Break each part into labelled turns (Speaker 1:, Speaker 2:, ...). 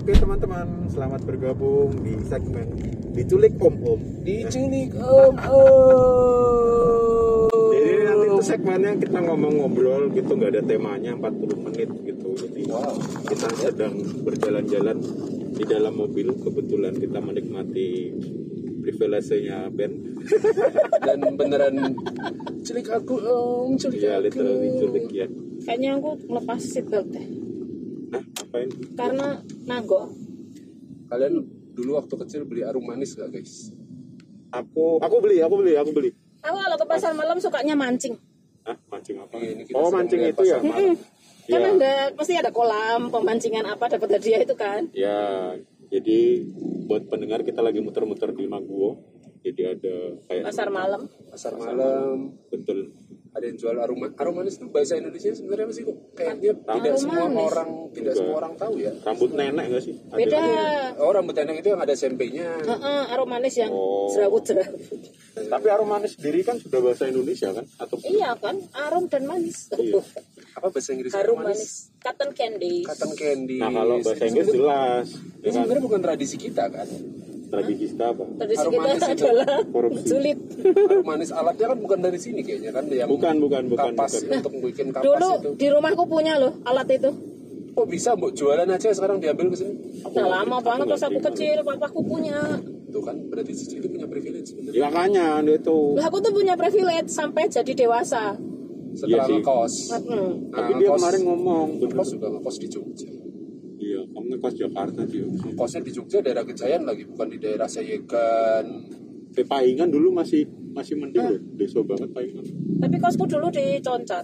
Speaker 1: teman-teman, selamat bergabung di segmen diculik Om Om.
Speaker 2: Diculik om om.
Speaker 1: Jadi Iya, nanti itu segmennya kita ngomong ngobrol gitu, nggak ada temanya 40 menit gitu. Jadi kita sedang berjalan-jalan di dalam mobil, kebetulan kita menikmati privilegenya Ben.
Speaker 2: Dan beneran culik aku om, culik
Speaker 1: Iya,
Speaker 2: aku.
Speaker 1: literally diculik ya.
Speaker 3: Kayaknya aku melepas seatbelt deh.
Speaker 1: Nah, apain?
Speaker 3: Karena nanggo.
Speaker 2: Kalian dulu waktu kecil beli arum manis gak guys?
Speaker 1: Aku aku beli, aku beli, aku beli.
Speaker 3: Aku kalau ke pasar malam sukanya mancing.
Speaker 1: Ah, mancing apa?
Speaker 2: Iya, ini kita
Speaker 1: Oh,
Speaker 2: sedang
Speaker 1: mancing
Speaker 2: lihat
Speaker 1: itu ya.
Speaker 2: pasar
Speaker 1: Mar? Iya.
Speaker 3: Karena ada pasti ada kolam pemancingan apa dapat hadiah itu kan.
Speaker 1: Ya, jadi buat pendengar kita lagi muter-muter di Maguwo. Jadi ada kayak
Speaker 3: Pasar malam.
Speaker 2: Pasar malam,
Speaker 1: betul
Speaker 2: ada yang jual arum manis. Arum manis itu bahasa Indonesia sebenarnya masih kok kayaknya tidak
Speaker 3: Arum
Speaker 2: semua
Speaker 3: manis.
Speaker 2: orang tidak
Speaker 1: Juga.
Speaker 2: semua orang tahu ya.
Speaker 1: rambut nenek nggak sih? Ada ya?
Speaker 3: Beda.
Speaker 1: nggak?
Speaker 2: Oh rambut teneng itu yang ada sempenya.
Speaker 3: Heeh, aroma manis yang
Speaker 1: Oh.
Speaker 3: jerawut jerawut.
Speaker 1: Tapi aroma manis sendiri kan sudah bahasa Indonesia kan? Atau
Speaker 3: Iya kan, arum dan manis.
Speaker 1: Iya.
Speaker 2: Apa bahasa Inggris?
Speaker 3: Harum manis. Cotton candy.
Speaker 2: Cotton candy.
Speaker 1: Nah kalau
Speaker 3: Iya,
Speaker 1: bahasa Inggris
Speaker 2: Sebenarnya-
Speaker 1: jelas,
Speaker 2: Ini
Speaker 1: ya kan?
Speaker 2: sebenarnya bukan tradisi kita kan.
Speaker 1: Tradisi kita apa?
Speaker 3: Tradisi
Speaker 2: Harum
Speaker 3: kita
Speaker 2: manis itu.
Speaker 3: adalah
Speaker 1: Korupsi.
Speaker 3: sulit.
Speaker 2: Arum manis alatnya kan bukan dari sini kayaknya kan yang
Speaker 1: Bukan, bukan, bukan.
Speaker 2: kapas
Speaker 1: bukan.
Speaker 2: untuk bikin kapas
Speaker 3: Dulu
Speaker 2: itu.
Speaker 3: di rumahku punya loh alat itu.
Speaker 2: Kok bisa mbok jualan aja sekarang diambil ke sini?
Speaker 1: Aku
Speaker 3: Nah
Speaker 1: nggak
Speaker 3: lama
Speaker 1: ngerti,
Speaker 3: banget
Speaker 1: nggak
Speaker 3: pas aku
Speaker 1: ngerti.
Speaker 3: kecil, papaku punya.
Speaker 2: Itu kan berarti si Cilik punya privilege sebenarnya.
Speaker 1: Ya makanya dia itu.
Speaker 3: Lah aku tuh punya privilege sampai jadi dewasa.
Speaker 2: Setelah
Speaker 1: iya sih.
Speaker 2: ngekos.
Speaker 3: Hmm.
Speaker 2: Nah,
Speaker 1: Tapi dia
Speaker 2: ngekos-
Speaker 1: kemarin ngomong gitu. bener.
Speaker 2: ngekos juga ngekos di Jogja.
Speaker 1: Iya, kamu ngekos Jakarta dia.
Speaker 2: Kosnya di Jogja daerah Gejayan lagi bukan di daerah Sayegan.
Speaker 1: Tapi Paingan dulu masih masih mending loh, deso banget Paingan.
Speaker 3: Tapi kosku dulu di Concat.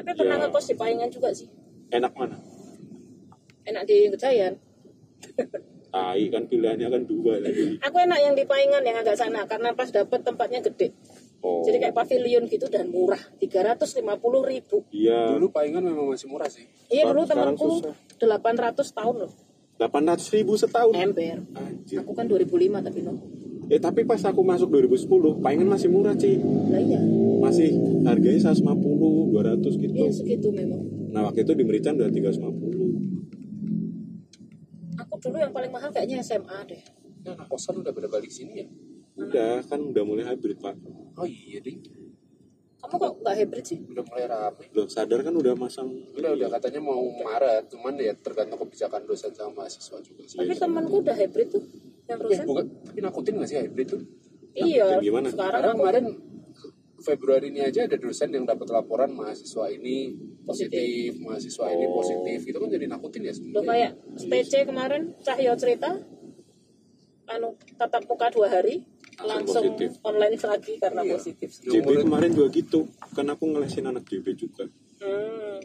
Speaker 3: Tapi pernah
Speaker 1: Ya.
Speaker 3: ngekos di Paingan juga sih.
Speaker 1: Enak mana?
Speaker 3: Enak di Gejayan.
Speaker 1: Tai kan pilihannya kan dua lagi.
Speaker 3: Aku enak yang di Paingan yang agak sana karena pas dapet tempatnya gede.
Speaker 1: Oh.
Speaker 3: Jadi kayak pavilion gitu dan murah. 350 ribu.
Speaker 1: Iya.
Speaker 2: Dulu Paingan memang masih murah sih.
Speaker 3: Iya
Speaker 1: Sekarang-
Speaker 3: dulu
Speaker 1: sekarang
Speaker 3: temanku
Speaker 1: susah.
Speaker 3: 800 tahun loh.
Speaker 1: 800 ribu setahun.
Speaker 3: Ember.
Speaker 1: Anjir.
Speaker 3: Aku kan 2005 tapi no.
Speaker 1: Eh tapi pas aku masuk 2010, palingan masih murah Ci.
Speaker 3: Lah iya.
Speaker 1: Masih harganya 150, 200 gitu.
Speaker 3: Iya segitu memang.
Speaker 1: Nah waktu itu di Merican udah 350.
Speaker 3: Aku dulu yang paling mahal kayaknya SMA deh.
Speaker 2: Ya, anak kosan udah pada balik sini ya.
Speaker 1: Udah kan udah mulai hybrid pak.
Speaker 2: Oh iya ding,
Speaker 3: Kamu kok nggak hybrid sih?
Speaker 2: udah mulai rame.
Speaker 1: Belum sadar kan udah masang.
Speaker 2: Udah udah katanya mau Maret, cuman ya tergantung kebijakan dosen sama mahasiswa juga sih.
Speaker 1: Iya,
Speaker 3: Tapi temanku udah hybrid tuh. Yang
Speaker 2: Eh,
Speaker 3: rusak.
Speaker 2: bukan, tapi nakutin gak sih hybrid tuh?
Speaker 3: Iya.
Speaker 1: Yang gimana?
Speaker 3: Sekarang
Speaker 2: Karena kemarin Februari ini aja ada dosen yang dapat laporan mahasiswa ini positif, mahasiswa ini
Speaker 1: Oh.
Speaker 2: positif. Itu kan jadi nakutin ya
Speaker 3: Lo
Speaker 2: sebenarnya.
Speaker 3: kayak STC kemarin Cahyo cerita anu tatap muka dua hari
Speaker 1: Langsung
Speaker 3: langsung
Speaker 1: positif.
Speaker 3: online lagi karena
Speaker 2: Iya.
Speaker 3: positif.
Speaker 1: JB kemarin juga gitu. Kan aku ngelesin anak JB juga.
Speaker 3: Hmm.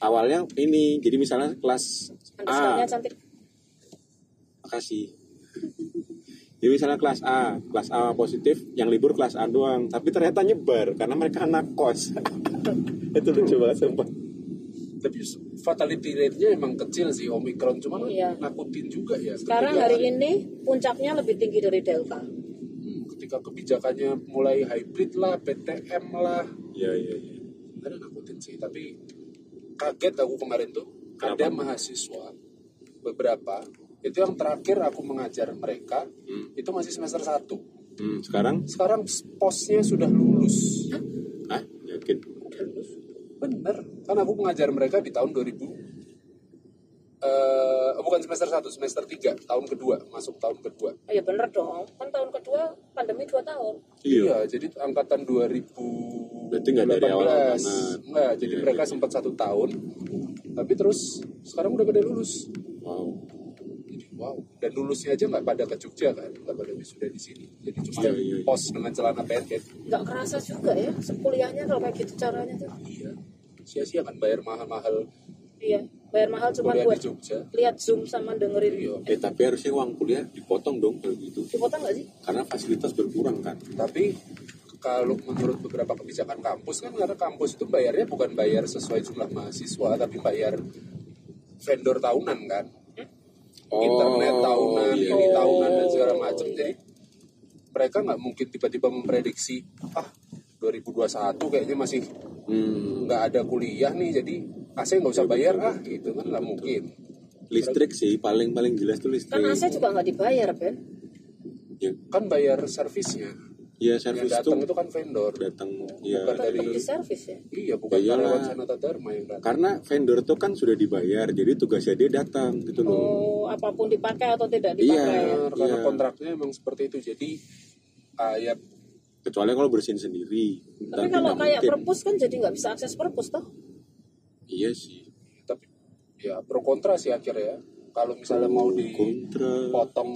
Speaker 1: Awalnya ini, jadi misalnya kelas A,
Speaker 3: Underscore-nya cantik.
Speaker 1: makasih. Jadi misalnya kelas A, kelas A positif, yang libur kelas A doang. Tapi ternyata nyebar karena mereka anak kos. itu lucu banget sumpah.
Speaker 2: Tapi fatality rate-nya emang kecil sih Omicron, cuman kan
Speaker 3: Iya.
Speaker 2: nakutin juga ya.
Speaker 3: Sekarang
Speaker 2: Ketika-
Speaker 3: hari ini puncaknya lebih tinggi dari Delta.
Speaker 2: Hmm, ketika kebijakannya mulai hybrid lah, PTM lah,
Speaker 1: Iya, iya, iya.
Speaker 2: sebenarnya nakutin sih. Tapi kaget aku kemarin tuh
Speaker 1: Kenapa?
Speaker 2: ada mahasiswa beberapa itu yang terakhir aku mengajar mereka
Speaker 1: Hmm.
Speaker 2: itu masih semester 1
Speaker 1: Hmm, sekarang?
Speaker 2: sekarang posnya sudah lulus
Speaker 1: Ah, yakin.
Speaker 2: bener kan aku mengajar mereka di tahun 2000 eh bukan semester 1 semester 3 tahun kedua masuk tahun kedua
Speaker 3: Oh ya bener dong. Kan tahun kedua pandemi dua tahun.
Speaker 1: Iya.
Speaker 2: jadi angkatan 2000
Speaker 1: Berarti nggak dari awal banget.
Speaker 2: enggak jadi
Speaker 1: Iya,
Speaker 2: mereka
Speaker 1: iya.
Speaker 2: sempat satu tahun tapi terus sekarang udah pada lulus
Speaker 1: Wow.
Speaker 2: jadi wow dan lulusnya aja nggak pada ke Jogja kan nggak pada sudah di sini jadi cuma
Speaker 1: Iya, iya, iya.
Speaker 2: pos dengan celana pendek
Speaker 3: Nggak kerasa juga ya sekuliahnya kalau kayak gitu caranya tuh.
Speaker 2: iya sia-sia kan bayar mahal-mahal
Speaker 3: Iya. Bayar mahal cuma
Speaker 2: kuliah
Speaker 3: buat
Speaker 2: di Jogja
Speaker 3: lihat Zoom sama dengerin.
Speaker 2: iya
Speaker 1: Eh, tapi harusnya uang kuliah dipotong dong kalau gitu.
Speaker 3: Dipotong nggak sih?
Speaker 1: Karena fasilitas berkurang kan.
Speaker 2: Tapi kalau menurut beberapa kebijakan kampus kan karena kampus itu bayarnya bukan bayar sesuai jumlah mahasiswa tapi bayar vendor tahunan kan. Oh, Internet tahunan,
Speaker 1: Oh, iya.
Speaker 2: ini tahunan dan segala macam. Jadi mereka nggak mungkin tiba-tiba memprediksi ah 2021 kayaknya masih
Speaker 1: Hmm.
Speaker 2: nggak ada kuliah nih jadi AC nggak usah bayar ah gitu kan nggak mungkin.
Speaker 1: listrik sih paling paling jelas tuh listrik
Speaker 3: Kan AC juga nggak dibayar, Ben.
Speaker 1: ya,
Speaker 2: kan bayar servisnya
Speaker 1: ya
Speaker 2: yang
Speaker 1: servis
Speaker 2: datang
Speaker 1: tuh
Speaker 2: itu kan vendor
Speaker 1: datang ya
Speaker 2: Bukan
Speaker 3: Tetap
Speaker 2: dari-
Speaker 3: di servis ya.
Speaker 2: iya bukan
Speaker 1: Ya iyalah.
Speaker 2: karyawan Sanata Dharma yang datang
Speaker 1: karena vendor tuh kan sudah dibayar jadi tugasnya dia datang gitu loh
Speaker 3: Oh, apapun dipakai atau tidak
Speaker 1: Iya.
Speaker 3: dipakai. ya.
Speaker 2: Benar, karena
Speaker 1: Iya.
Speaker 2: kontraknya emang seperti itu jadi ah, ya
Speaker 1: kecuali kalau bersihin sendiri
Speaker 3: Tapi
Speaker 1: nanti
Speaker 3: kalau
Speaker 1: nggak
Speaker 3: kayak
Speaker 1: mungkin.
Speaker 3: perpus kan jadi nggak bisa akses perpus toh.
Speaker 1: iya sih
Speaker 2: tapi ya pro kontra sih akhirnya kalau misalnya mau dipotong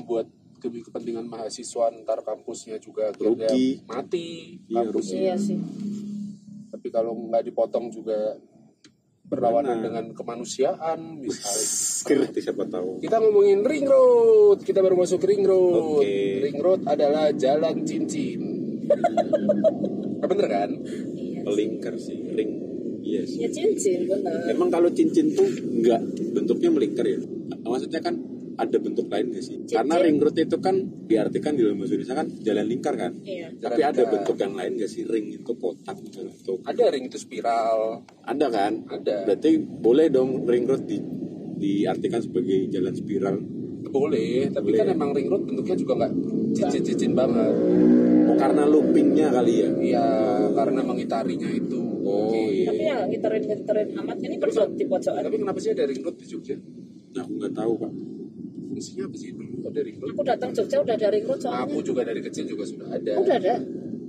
Speaker 1: kontra
Speaker 2: buat demi kepentingan mahasiswa ntar kampusnya juga akhirnya
Speaker 1: Rugi.
Speaker 2: mati
Speaker 1: Iya,
Speaker 2: kampusnya
Speaker 3: Iya sih.
Speaker 2: tapi kalau nggak dipotong juga berlawanan
Speaker 1: Gimana?
Speaker 2: dengan kemanusiaan misalnya
Speaker 1: nanti siapa tahu
Speaker 2: kita ngomongin ring road kita baru masuk ring road
Speaker 4: Oke.
Speaker 2: ring road adalah jalan cincin Ah, bener kan
Speaker 3: Iya.
Speaker 4: melingkar sih ring
Speaker 1: iya sih
Speaker 3: Ya cincin benar.
Speaker 1: emang kalau cincin tuh nggak bentuknya melingkar ya maksudnya kan ada bentuk lain gak sih
Speaker 3: Cincin.
Speaker 1: karena ring road itu kan diartikan di dalam bahasa Indonesia kan jalan lingkar kan
Speaker 3: Iya.
Speaker 1: tapi
Speaker 2: Jalan
Speaker 1: ada
Speaker 2: lingkar.
Speaker 1: bentuk yang lain gak sih ring itu kotak gitu lah. Tuh.
Speaker 2: ada ring itu spiral
Speaker 1: ada kan
Speaker 2: Ada.
Speaker 1: berarti boleh dong ring road di diartikan sebagai jalan spiral
Speaker 2: boleh tapi
Speaker 1: Boleh.
Speaker 2: kan emang ring road bentuknya juga nggak cincin cincin banget
Speaker 1: oh, karena loopingnya kali ya
Speaker 2: Iya, karena mengitarinya itu.
Speaker 1: oh iya
Speaker 3: Tapi ya ngiterin ngiterin amat ini pojok di pojokan.
Speaker 2: Nah, Tapi kenapa sih ada ring road di Jogja?
Speaker 1: aku nggak tahu pak
Speaker 2: Fungsinya apa sih dulu ada ring road?
Speaker 3: Aku datang Jogja udah dari road soalnya.
Speaker 2: Aku juga dari kecil juga sudah ada.
Speaker 3: Udah ada.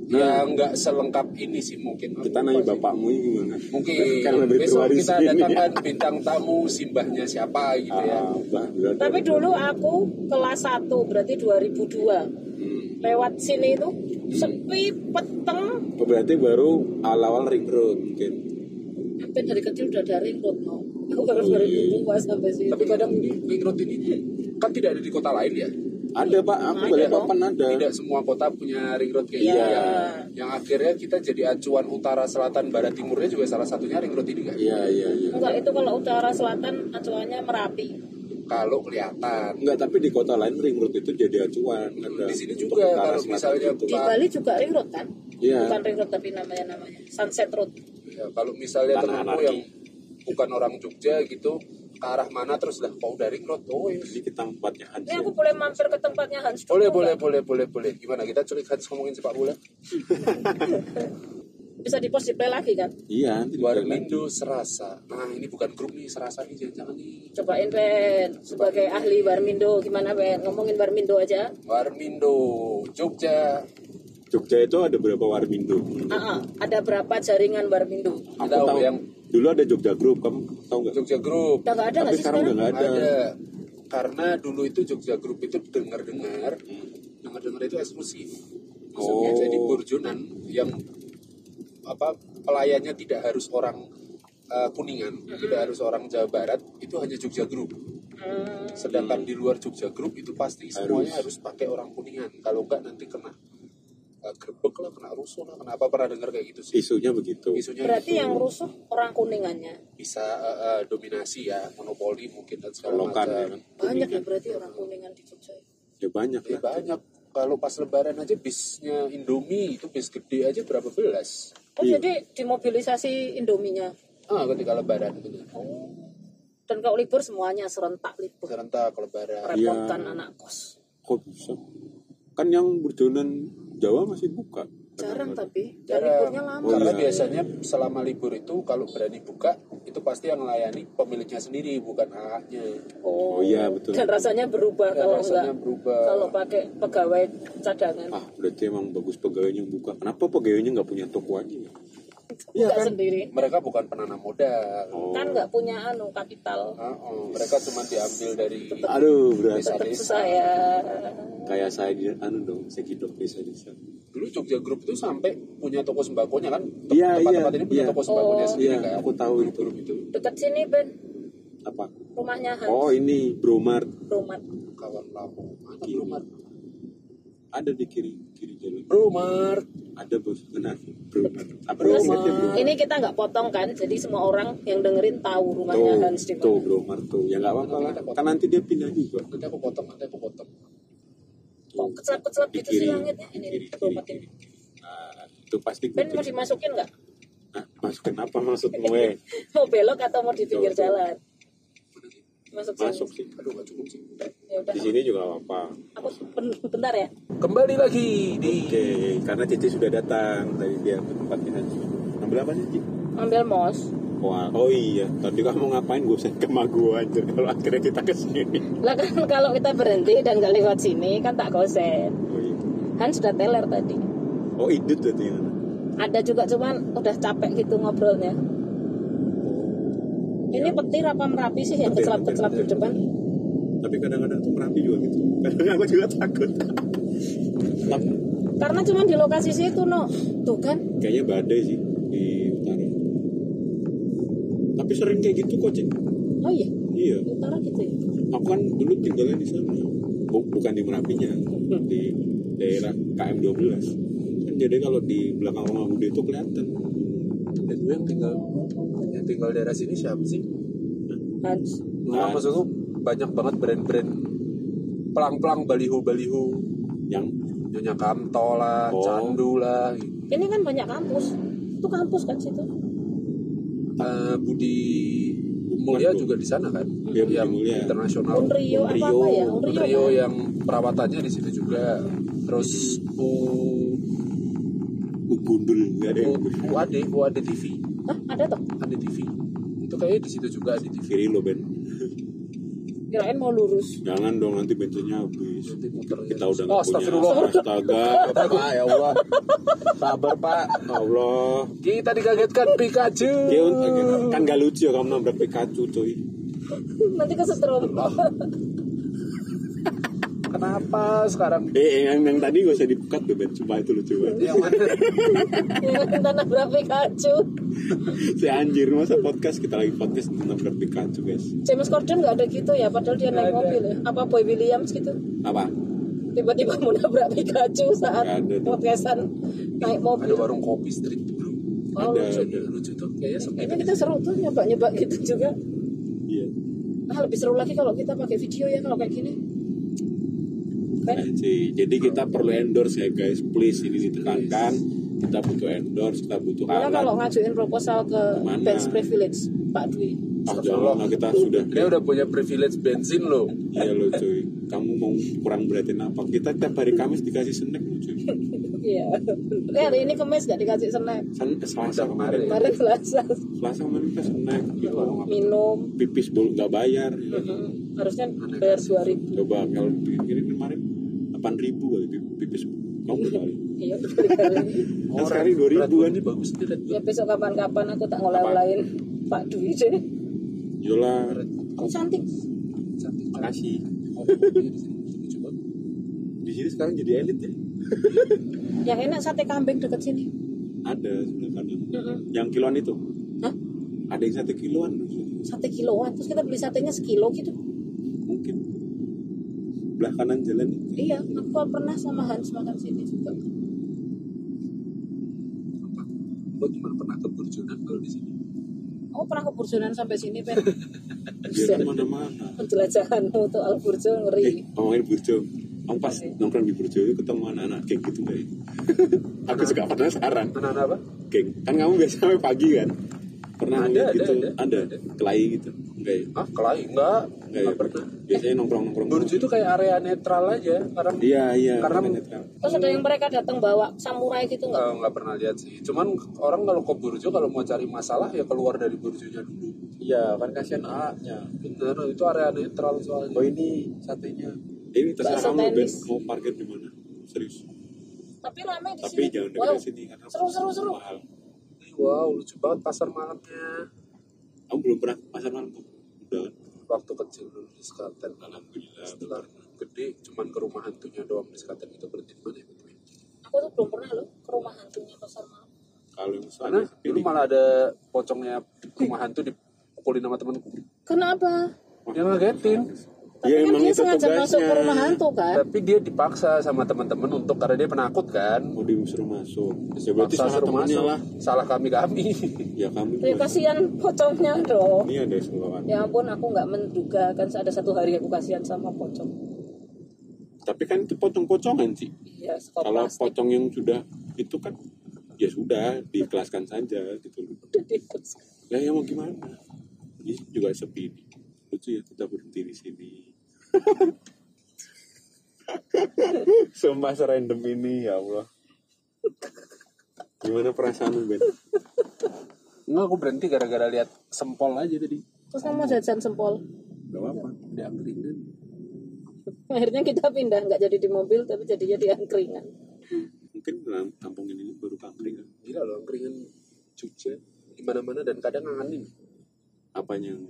Speaker 2: Ya nggak selengkap ini sih mungkin.
Speaker 1: kita
Speaker 2: Apa
Speaker 1: nanya
Speaker 2: sih?
Speaker 1: bapakmu ini gimana
Speaker 2: Mungkin
Speaker 1: Kan lebih tua
Speaker 2: besok
Speaker 1: di
Speaker 2: kita
Speaker 1: sini.
Speaker 2: datangkan bintang tamu simbahnya siapa gitu ya.
Speaker 1: ah, bah, udah,
Speaker 3: Tapi dulu aku kelas 1 berarti 2002
Speaker 1: Hmm.
Speaker 3: lewat sini itu sepi peteng
Speaker 1: berarti baru awal-awal ring road mungkin
Speaker 3: sampai dari kecil udah dari road no aku baru baru dua sampai sini
Speaker 2: Tapi kadang ini ring road ini kan tidak ada di kota lain ya.
Speaker 1: ada pak aku
Speaker 3: Ada
Speaker 1: balik
Speaker 3: dong.
Speaker 1: papan ada
Speaker 2: Tidak semua kota punya ring road kayak
Speaker 3: Iya.
Speaker 2: gini ya. Yang akhirnya kita jadi acuan utara, selatan, barat, timurnya juga salah satunya ring road ini kan.
Speaker 1: iya iya iya
Speaker 3: enggak itu kalau utara selatan acuannya merapi
Speaker 2: Kalau kelihatan
Speaker 1: Enggak, tapi di kota lain ring road itu jadi acuan. Ada
Speaker 2: di sini
Speaker 1: Iya. untuk
Speaker 2: juga
Speaker 1: utara,
Speaker 2: kalau
Speaker 1: selatan
Speaker 2: misalnya
Speaker 1: gitu.
Speaker 3: di Bali juga ring road kan
Speaker 1: Iya.
Speaker 3: bukan ring road tapi namanya namanya sunset road
Speaker 2: Ya, kalau misalnya
Speaker 1: Tanah
Speaker 2: temanku
Speaker 1: anarki.
Speaker 2: yang bukan orang Jogja gitu ke arah mana terus lah kau dari road oh iya.
Speaker 1: Ini kita ya, empatnya
Speaker 3: ini
Speaker 1: aja.
Speaker 3: aku boleh mampir ke tempatnya Hans kan?
Speaker 2: boleh
Speaker 3: Dulu
Speaker 2: boleh
Speaker 3: nggak?
Speaker 2: boleh boleh boleh gimana kita culik Hans ngomongin sepak bola
Speaker 3: bisa di post di play lagi kan
Speaker 1: Iya, nanti di Bali.
Speaker 2: Warmindo Serasa nah ini bukan grup nih Serasa nih jangan-jangan nih
Speaker 3: cobain Ben sebagai ahli Barmindo gimana Ben ngomongin Barmindo aja
Speaker 2: Warmindo Jogja
Speaker 1: Jogja itu ada berapa warmindo?
Speaker 3: Ah, ah, ada berapa jaringan Barmindo
Speaker 1: Aku
Speaker 2: Tahu
Speaker 1: tahu
Speaker 2: yang-
Speaker 1: dulu ada Jogja Group, kamu tahu nggak?
Speaker 2: Jogja Group
Speaker 3: udah nggak ada nggak
Speaker 1: Tapi
Speaker 3: sih
Speaker 1: sekarang udah
Speaker 3: sekarang
Speaker 1: nggak ada.
Speaker 2: ada karena dulu itu Jogja Group itu dengar-dengar dengar-dengar itu eksklusif maksudnya
Speaker 1: Oh.
Speaker 2: jadi burjonan yang apa pelayannya tidak harus orang eh, kuningan tidak harus orang Jawa Barat itu hanya Jogja Group
Speaker 3: Hmm.
Speaker 2: sedangkan di luar Jogja Group itu pasti semuanya harus pakai orang kuningan kalau enggak nanti kena eh, grebek lah kena rusuh lah kenapa pernah dengar kayak gitu sih
Speaker 1: Isunya begitu.
Speaker 2: isunya
Speaker 3: Berarti
Speaker 2: gitu.
Speaker 3: yang rusuh orang kuningannya.
Speaker 2: bisa eh, eh, dominasi ya monopoli mungkin dan segala
Speaker 1: Colokan ya
Speaker 2: macam
Speaker 1: kan?
Speaker 3: Banyak ya berarti orang kuningan di Jogja.
Speaker 1: Ya banyak lah.
Speaker 2: Ya banyak. Kalau pas lebaran aja bisnya Indomie itu bis gede aja berapa belas.
Speaker 3: Oh
Speaker 1: Iya.
Speaker 3: jadi dimobilisasi Indominya.
Speaker 2: Ah, ketika lebaran Oh, bener.
Speaker 3: Dan kalau libur semuanya serentak libur.
Speaker 2: Serentak
Speaker 1: Iya.
Speaker 2: lebaran.
Speaker 3: Repotkan anak kos.
Speaker 1: Kok bisa? Kan yang berjonan Jawa masih buka.
Speaker 3: Jarang tapi. Dan
Speaker 2: Jarang.
Speaker 3: liburnya lama.
Speaker 1: Oh,
Speaker 2: Karena
Speaker 1: iya.
Speaker 2: biasanya selama libur itu kalau berani buka itu pasti yang melayani pemiliknya sendiri bukan AA-nya.
Speaker 1: Oh iya betul. Iya,
Speaker 3: Dan rasanya berubah
Speaker 2: Dan
Speaker 3: kalau
Speaker 2: rasanya
Speaker 3: enggak
Speaker 2: berubah.
Speaker 3: kalau pakai pegawai cadangan.
Speaker 1: Ah, berarti emang bagus pegawainya yang buka. Kenapa pegawainya nggak punya toko aja? ya?
Speaker 3: Enggak sendiri.
Speaker 2: Mereka bukan penanam modal.
Speaker 1: kan? Oh.
Speaker 3: Kan nggak punya anu kapital.
Speaker 2: Ah, oh. mereka cuma diambil dari
Speaker 1: Aduh, berarti
Speaker 3: Tetap
Speaker 2: desa.
Speaker 3: susah ya.
Speaker 1: kayak saya di- anu dong, segidok desa-desa.
Speaker 2: dulu Jogja Group itu sampai punya toko sembakonya kan. Tem-
Speaker 1: Iya,
Speaker 2: Tempat-tempat
Speaker 1: iya,
Speaker 2: ini punya
Speaker 1: iya.
Speaker 2: toko sembakonya
Speaker 3: Oh.
Speaker 2: sendiri kan.
Speaker 1: Iya, aku tahu itu.
Speaker 2: Grup itu
Speaker 3: Dekat sini Ben.
Speaker 1: Apa?
Speaker 3: Rumahnya Hans.
Speaker 1: Oh, ini Bromart
Speaker 3: Rumah.
Speaker 2: kawan lama. Mana
Speaker 1: Iya.
Speaker 2: Bromart?
Speaker 1: ada di kiri kiri jalan.
Speaker 2: Bromart.
Speaker 1: Ada bos kenal Bromart. Apa
Speaker 3: Terus
Speaker 1: Bromart ya, Bromart?
Speaker 3: ini kita nggak potong kan, jadi semua orang yang dengerin tahu rumahnya Hans
Speaker 1: Tuh,
Speaker 3: di
Speaker 1: tuh
Speaker 3: mana.
Speaker 1: Bromart tuh. Ya nggak apa-apa lah. Kan nanti dia pindah juga.
Speaker 2: Nanti aku potong, nanti aku potong.
Speaker 3: Kok kecelap-kecelap
Speaker 1: Di
Speaker 3: gitu sih
Speaker 1: kiri,
Speaker 3: langitnya ini
Speaker 1: kiri,
Speaker 3: gerobak
Speaker 1: kiri,
Speaker 3: ini.
Speaker 1: Nah, itu pasti
Speaker 3: Ben mau
Speaker 1: kucing.
Speaker 3: dimasukin nggak?
Speaker 1: Nah, mas kenapa maksud gue?
Speaker 3: Mau belok atau mau di pinggir
Speaker 1: Tuh, tuh.
Speaker 3: jalan? masuk sini.
Speaker 1: masuk sih
Speaker 2: Aduh nggak cukup sih.
Speaker 3: Ya udah.
Speaker 1: di sini juga nggak apa
Speaker 3: Aku ben- bentar ya.
Speaker 2: Kembali lagi di
Speaker 1: oke karena Cici sudah datang tadi dia ke tempat kita ambil apa sih Cici
Speaker 3: Ambil mos.
Speaker 1: Wah, oh iya, tadi kamu ngapain gue send ke magu anjir kalau akhirnya kita ke sini.
Speaker 3: Lah kan kalau kita berhenti dan nggak lewat sini kan tak gosen.
Speaker 1: Oh, iya.
Speaker 3: Kan sudah teler tadi.
Speaker 1: oh idut berarti ya.
Speaker 3: Ada juga cuman udah capek gitu ngobrolnya.
Speaker 1: Oh,
Speaker 3: Ini petir apa merapi sih
Speaker 1: iya.
Speaker 3: yang
Speaker 1: Petir,
Speaker 3: kecelap-kecelap di
Speaker 1: petir.
Speaker 3: depan?
Speaker 1: Tapi kadang-kadang tuh merapi juga gitu. Kadang aku juga takut.
Speaker 3: Karena cuman di lokasi situ no. Tuh kan.
Speaker 1: Kayaknya badai sih di utara. Tapi sering kayak gitu kok, Cik.
Speaker 3: Oh iya,
Speaker 1: Iya,
Speaker 3: di utara gitu ya.
Speaker 1: aku kan dulu tinggalnya di sana. Bu- bukan di Merapinya, di daerah KM12. Kan jadi kalau di belakang rumah Bude itu kelihatan.
Speaker 2: dan gue yang tinggal yang tinggal daerah sini siapa sih?
Speaker 3: Hans.
Speaker 1: Nah.
Speaker 2: Nah, maksud lu banyak banget brand-brand pelang-pelang baliho-baliho
Speaker 1: Yang
Speaker 2: Nyonya Kamto lah,
Speaker 1: Oh.
Speaker 2: Candu lah, gitu.
Speaker 3: Ini kan banyak kampus. Itu kampus kan situ.
Speaker 2: Eh, Budi Mulia juga di sana kan?
Speaker 1: Iya, Budi
Speaker 2: yang
Speaker 1: Mulia.
Speaker 2: internasional.
Speaker 3: Unrio
Speaker 1: Unrio.
Speaker 3: apa
Speaker 1: iya.
Speaker 3: apa ya?
Speaker 2: Unrio yang perawatannya di situ juga. Terus U
Speaker 1: gundul, nggak ada
Speaker 2: U
Speaker 1: yang gundul.
Speaker 2: UAD, UAD TV,
Speaker 3: Hah, ada toh.
Speaker 2: ada TV. Itu kayaknya di situ juga ada TV.
Speaker 1: Kiri lo, Ben.
Speaker 3: Kirain mau lurus.
Speaker 1: Jangan dong, nanti bensinnya habis.
Speaker 2: Nanti muter ya.
Speaker 1: Kita udah
Speaker 2: oh,
Speaker 1: nggak punya.
Speaker 2: astagfirullah.
Speaker 1: Astaga, Ya
Speaker 5: Pak, ya Allah.
Speaker 2: Sabar, Pak.
Speaker 1: Allah.
Speaker 2: Kita dikagetkan Pikachu.
Speaker 1: Ya kan gak lucu ya kamu nabrak Pikachu cuy
Speaker 3: Nanti kesetrum.
Speaker 2: Kenapa sekarang?
Speaker 1: Eh yang, yang tadi gak usah dibuka tuh Ben Sumpah itu lucu banget
Speaker 2: Yang mana?
Speaker 3: Yang tanah berapa Pikachu.
Speaker 1: Si anjir masa podcast kita lagi podcast nabrak Pikachu guys
Speaker 3: James Corden nggak ada gitu ya, padahal dia
Speaker 2: Nggak
Speaker 3: naik
Speaker 2: ada.
Speaker 3: mobil ya. Apa Boy Williams gitu?
Speaker 1: Apa?
Speaker 3: Tiba-tiba mau nabrak Pikachu saat
Speaker 1: Nggak ada.
Speaker 3: podcastan naik
Speaker 2: ada
Speaker 3: mobil.
Speaker 2: warung kopi street dulu.
Speaker 3: Oh,
Speaker 1: Ada.
Speaker 2: Lucu, lucu tuh. Kayaknya sempit.
Speaker 3: Ini kita seru tuh nyoba-nyoba gitu juga.
Speaker 1: Iya
Speaker 3: Nah, lebih seru lagi kalau kita pakai video ya kalau kayak gini. Kan?
Speaker 1: Anjir. Eh, Jadi kita perlu endorse ya guys Please ini ditekankan Kita butuh endorse Kita butuh
Speaker 3: Karena Iya, kalau
Speaker 1: alat
Speaker 3: ngajuin proposal ke
Speaker 1: Mana?
Speaker 3: Benz Privilege, Pak Dwi.
Speaker 1: Ah jangan lah kita sudah
Speaker 2: Dia udah punya privilege bensin loh.
Speaker 1: Iya lo cuy Kamu mau kurang beratin apa Kita tiap hari Kamis dikasih snack lo cuy
Speaker 3: Iya. Eh, hari ini kemes gak dikasih snack.
Speaker 1: Sen eh, Selasa kemarin
Speaker 3: Kemarin selasa
Speaker 1: Selasa kemarin kita snack gitu.
Speaker 3: minum.
Speaker 1: Pipis bolu gak bayar
Speaker 2: Iya.
Speaker 3: Mm-mm. Harusnya bayar
Speaker 2: kan?
Speaker 3: 2000
Speaker 1: Coba kalau dikirim kemarin 8 ribu kali pip- pipis kamu kali.
Speaker 3: Iya, dikali.
Speaker 1: Kan sekali 2000
Speaker 2: Red Bull
Speaker 1: kan.
Speaker 2: ini bagus nih Red Bull.
Speaker 3: Ya besok kapan-kapan aku tak ngolah-olahin Pak Dwi deh.
Speaker 1: Yola,
Speaker 3: Kamu cantik.
Speaker 2: Cantik banget.
Speaker 1: makasih.
Speaker 2: Orang kopinya di sini lucu banget.
Speaker 1: Di sini sekarang jadi elit ya.
Speaker 3: Yang Ya, enak sate kambing deket sini.
Speaker 1: Ada sebenarnya kadang.
Speaker 3: Mm-mm.
Speaker 1: Yang kiloan itu.
Speaker 3: Hah?
Speaker 1: Ada yang satu kiloan di sini.
Speaker 3: Sate kiloan. Terus kita beli satenya sekilo gitu.
Speaker 1: mungkin. Belah kanan jalan itu.
Speaker 3: Iya, aku pernah sama Hans makan sini juga.
Speaker 2: Apa? Lo gimana pernah ke Burjonan kalau di sini?
Speaker 3: Aku Oh, pernah ke Burjonan sampai sini, Pen.
Speaker 2: Eh,
Speaker 1: Dia kan mana-mana.
Speaker 3: Penjelajahan untuk Al Burjo
Speaker 1: Eh,
Speaker 2: Iya.
Speaker 3: ngeri.
Speaker 1: ngomongin Burjo. Kamu pas nongkrong di Burjo itu ketemu anak-anak geng gitu nggak ya? Aku suka penasaran.
Speaker 2: Anak-anak apa?
Speaker 1: Geng. Kan kamu biasa sampai pagi kan? Pernah
Speaker 2: Ada,
Speaker 1: ngeliat
Speaker 2: ada,
Speaker 1: gitu?
Speaker 2: ada.
Speaker 1: Ada. Kelahi gitu. Enggak ya?
Speaker 2: Ah, Kelai enggak.
Speaker 1: Enggak ya?
Speaker 2: Enggak pernah.
Speaker 1: Biasanya nongkrong-nongkrong.
Speaker 2: Burjo itu kayak area netral aja. Karena
Speaker 1: Iya, iya.
Speaker 2: Karena-
Speaker 1: bukan netral.
Speaker 3: Terus ada yang mereka datang bawa samurai gitu nggak?
Speaker 1: Oh.
Speaker 2: eh, nggak pernah lihat sih. Cuman orang kalau ke Burjo kalau mau cari masalah ya keluar dari Burjonya dulu.
Speaker 5: Iya, kan kasihan A-nya.
Speaker 2: Bener, itu area netral soalnya.
Speaker 5: Oh ini satenya.
Speaker 1: Ini terserah
Speaker 3: Bakso
Speaker 1: kamu Ben
Speaker 3: tenis.
Speaker 1: mau parkir di mana? Serius.
Speaker 3: Tapi ramai di
Speaker 1: Tapi
Speaker 3: sini.
Speaker 1: jangan
Speaker 3: Wow,
Speaker 1: dekat sini karena
Speaker 3: Seru, seru, seru.
Speaker 1: mahal.
Speaker 2: Ih, Wow, lucu banget pasar malamnya.
Speaker 1: Kamu belum pernah ke pasar malam kok? Udah.
Speaker 2: Waktu kecil dulu di Sekaten.
Speaker 1: Alhamdulillah.
Speaker 2: setelah gede cuman ke rumah hantunya doang di sekatan itu berhenti di mana ya Bang?
Speaker 3: Aku tuh belum pernah loh ke rumah hantunya pasar malam.
Speaker 1: Kalau yang
Speaker 2: Mana?
Speaker 1: sana
Speaker 2: dulu malah ada pocongnya rumah hantu dipukulin sama temanku
Speaker 3: Kenapa?
Speaker 2: dia ngagetin
Speaker 1: Ya, Iya,
Speaker 3: Tapi kan dia sengaja masuk ke rumah hantu kan?
Speaker 2: tapi dia dipaksa sama teman-teman untuk karena dia penakut kan
Speaker 1: Mau disuruh masuk. Ya berarti
Speaker 2: Paksa
Speaker 1: salah
Speaker 2: suruh
Speaker 1: temennya
Speaker 2: masuk.
Speaker 1: lah.
Speaker 2: salah kami kami
Speaker 1: Ya kamu.
Speaker 3: Ya kasihan pocongnya dong.
Speaker 1: Ini ada selokan.
Speaker 3: Ya ampun, aku nggak menduga kan ada satu hari aku kasihan sama pocong.
Speaker 1: Tapi kan itu potong-potongan sih.
Speaker 3: Iya, sekop
Speaker 1: Kalau
Speaker 3: plastik
Speaker 1: potong yang sudah itu kan ya sudah diikhlaskan saja gitu loh.
Speaker 3: udah dipus.
Speaker 1: Lah ya mau gimana? Ini juga sepi. lucu ya kita berhenti di sini
Speaker 4: Sumpah serandom ini ya Allah.
Speaker 1: gimana perasaanmu Ben
Speaker 2: Enggak, aku berhenti gara-gara lihat sempol aja tadi.
Speaker 3: Terus kamu mau jajan sempol.
Speaker 2: Gak apa-apa, di angkringan.
Speaker 3: Akhirnya kita pindah, nggak jadi di mobil, tapi jadinya di angkringan.
Speaker 1: mungkin dalam kampung ini baru kangkring kan?
Speaker 2: Gila loh, angkringan cuci di mana-mana dan kadang angannya
Speaker 1: apanya yang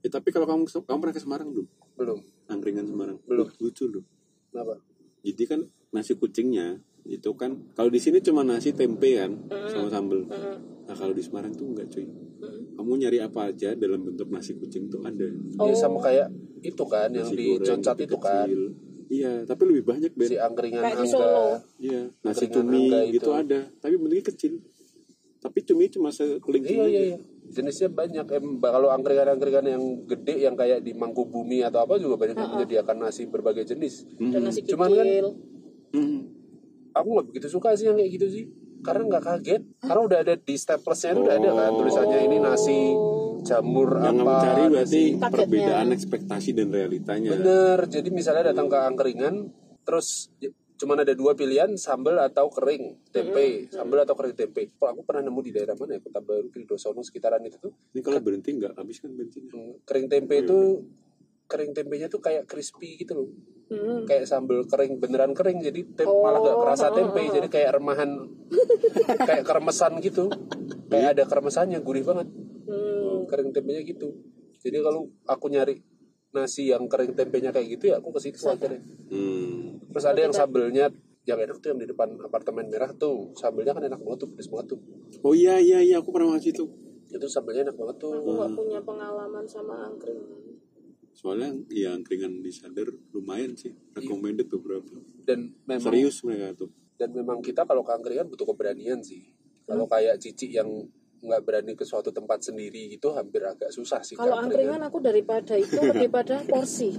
Speaker 1: eh tapi kalau kamu ke- kamu pernah ke Semarang belum
Speaker 2: belum.
Speaker 1: angkringan Semarang
Speaker 2: Belum.
Speaker 1: lucu loh
Speaker 2: Kenapa?
Speaker 1: jadi kan nasi kucingnya itu kan kalau di sini cuma nasi tempe kan sama sambel nah kalau di Semarang tuh enggak cuy kamu nyari apa aja dalam bentuk nasi kucing tuh ada
Speaker 2: Ini
Speaker 3: Oh.
Speaker 2: sama kayak itu kan yang
Speaker 1: nasi
Speaker 2: di Concat
Speaker 1: tapi
Speaker 2: itu kan.
Speaker 1: kecil. iya tapi lebih banyak Ben
Speaker 2: Si angkringan
Speaker 3: Kayak di
Speaker 2: angga.
Speaker 3: Solo.
Speaker 1: iya nasi
Speaker 2: angkringan
Speaker 1: cumi
Speaker 2: angga
Speaker 1: gitu
Speaker 2: itu.
Speaker 1: ada tapi bentuknya kecil tapi cumi cuma sekeliling
Speaker 2: Iya iya iya. Jenisnya banyak. Em, bah- kalau angkringan-angkringan yang gede yang kayak di Mangkubumi atau apa juga banyak yang menyediakan nasi berbagai jenis.
Speaker 3: Dan nasi kikil.
Speaker 2: Cuman kan- Aku nggak begitu suka sih yang kayak gitu sih. Karena nggak kaget. Karena udah ada di staplesnya itu udah ada kan tulisannya ini nasi
Speaker 3: Oh.
Speaker 2: jamur
Speaker 1: yang
Speaker 2: apa.
Speaker 1: kamu cari berarti
Speaker 3: Paketnya.
Speaker 1: perbedaan ekspektasi dan realitanya
Speaker 2: Bener. Jadi misalnya datang ke angkringan, terus j- cuman ada dua pilihan sambal atau kering tempe, sambal atau kering tempe. Kalau aku pernah nemu di daerah mana ya Kota Baru Kiridosono sekitaran itu tuh
Speaker 1: ini kalau berhenti nggak habis kan bensinnya
Speaker 2: Hmm, kering tempe itu kering tempenya tuh kayak crispy gitu loh
Speaker 3: Hmm.
Speaker 2: kayak sambal kering beneran kering jadi tem- malah gak kerasa tempe jadi kayak remahan kayak keremesan gitu kayak ada keremesannya gurih banget
Speaker 3: hmm.
Speaker 2: kering tempenya gitu jadi kalau aku nyari nasi yang kering tempenya kayak gitu ya aku ke situ akhirnya
Speaker 1: hmm.
Speaker 2: terus ada yang sambelnya yang enak tuh yang di depan apartemen merah tuh sambelnya kan enak banget tuh pedes banget tuh
Speaker 1: oh iya iya iya aku pernah masih itu
Speaker 2: itu sambelnya enak banget tuh
Speaker 3: Aku nggak punya pengalaman sama angkringan.
Speaker 1: soalnya ya angkringan di Sadar lumayan sih
Speaker 2: Iya.
Speaker 1: recommended beberapa
Speaker 2: dan memang
Speaker 1: serius mereka tuh
Speaker 2: dan memang kita kalau ke angkringan butuh keberanian sih kalau kayak cici yang nggak berani ke suatu tempat sendiri itu hampir agak susah sih kan. ke
Speaker 3: Kalau angkringan aku daripada itu lebih pada porsi.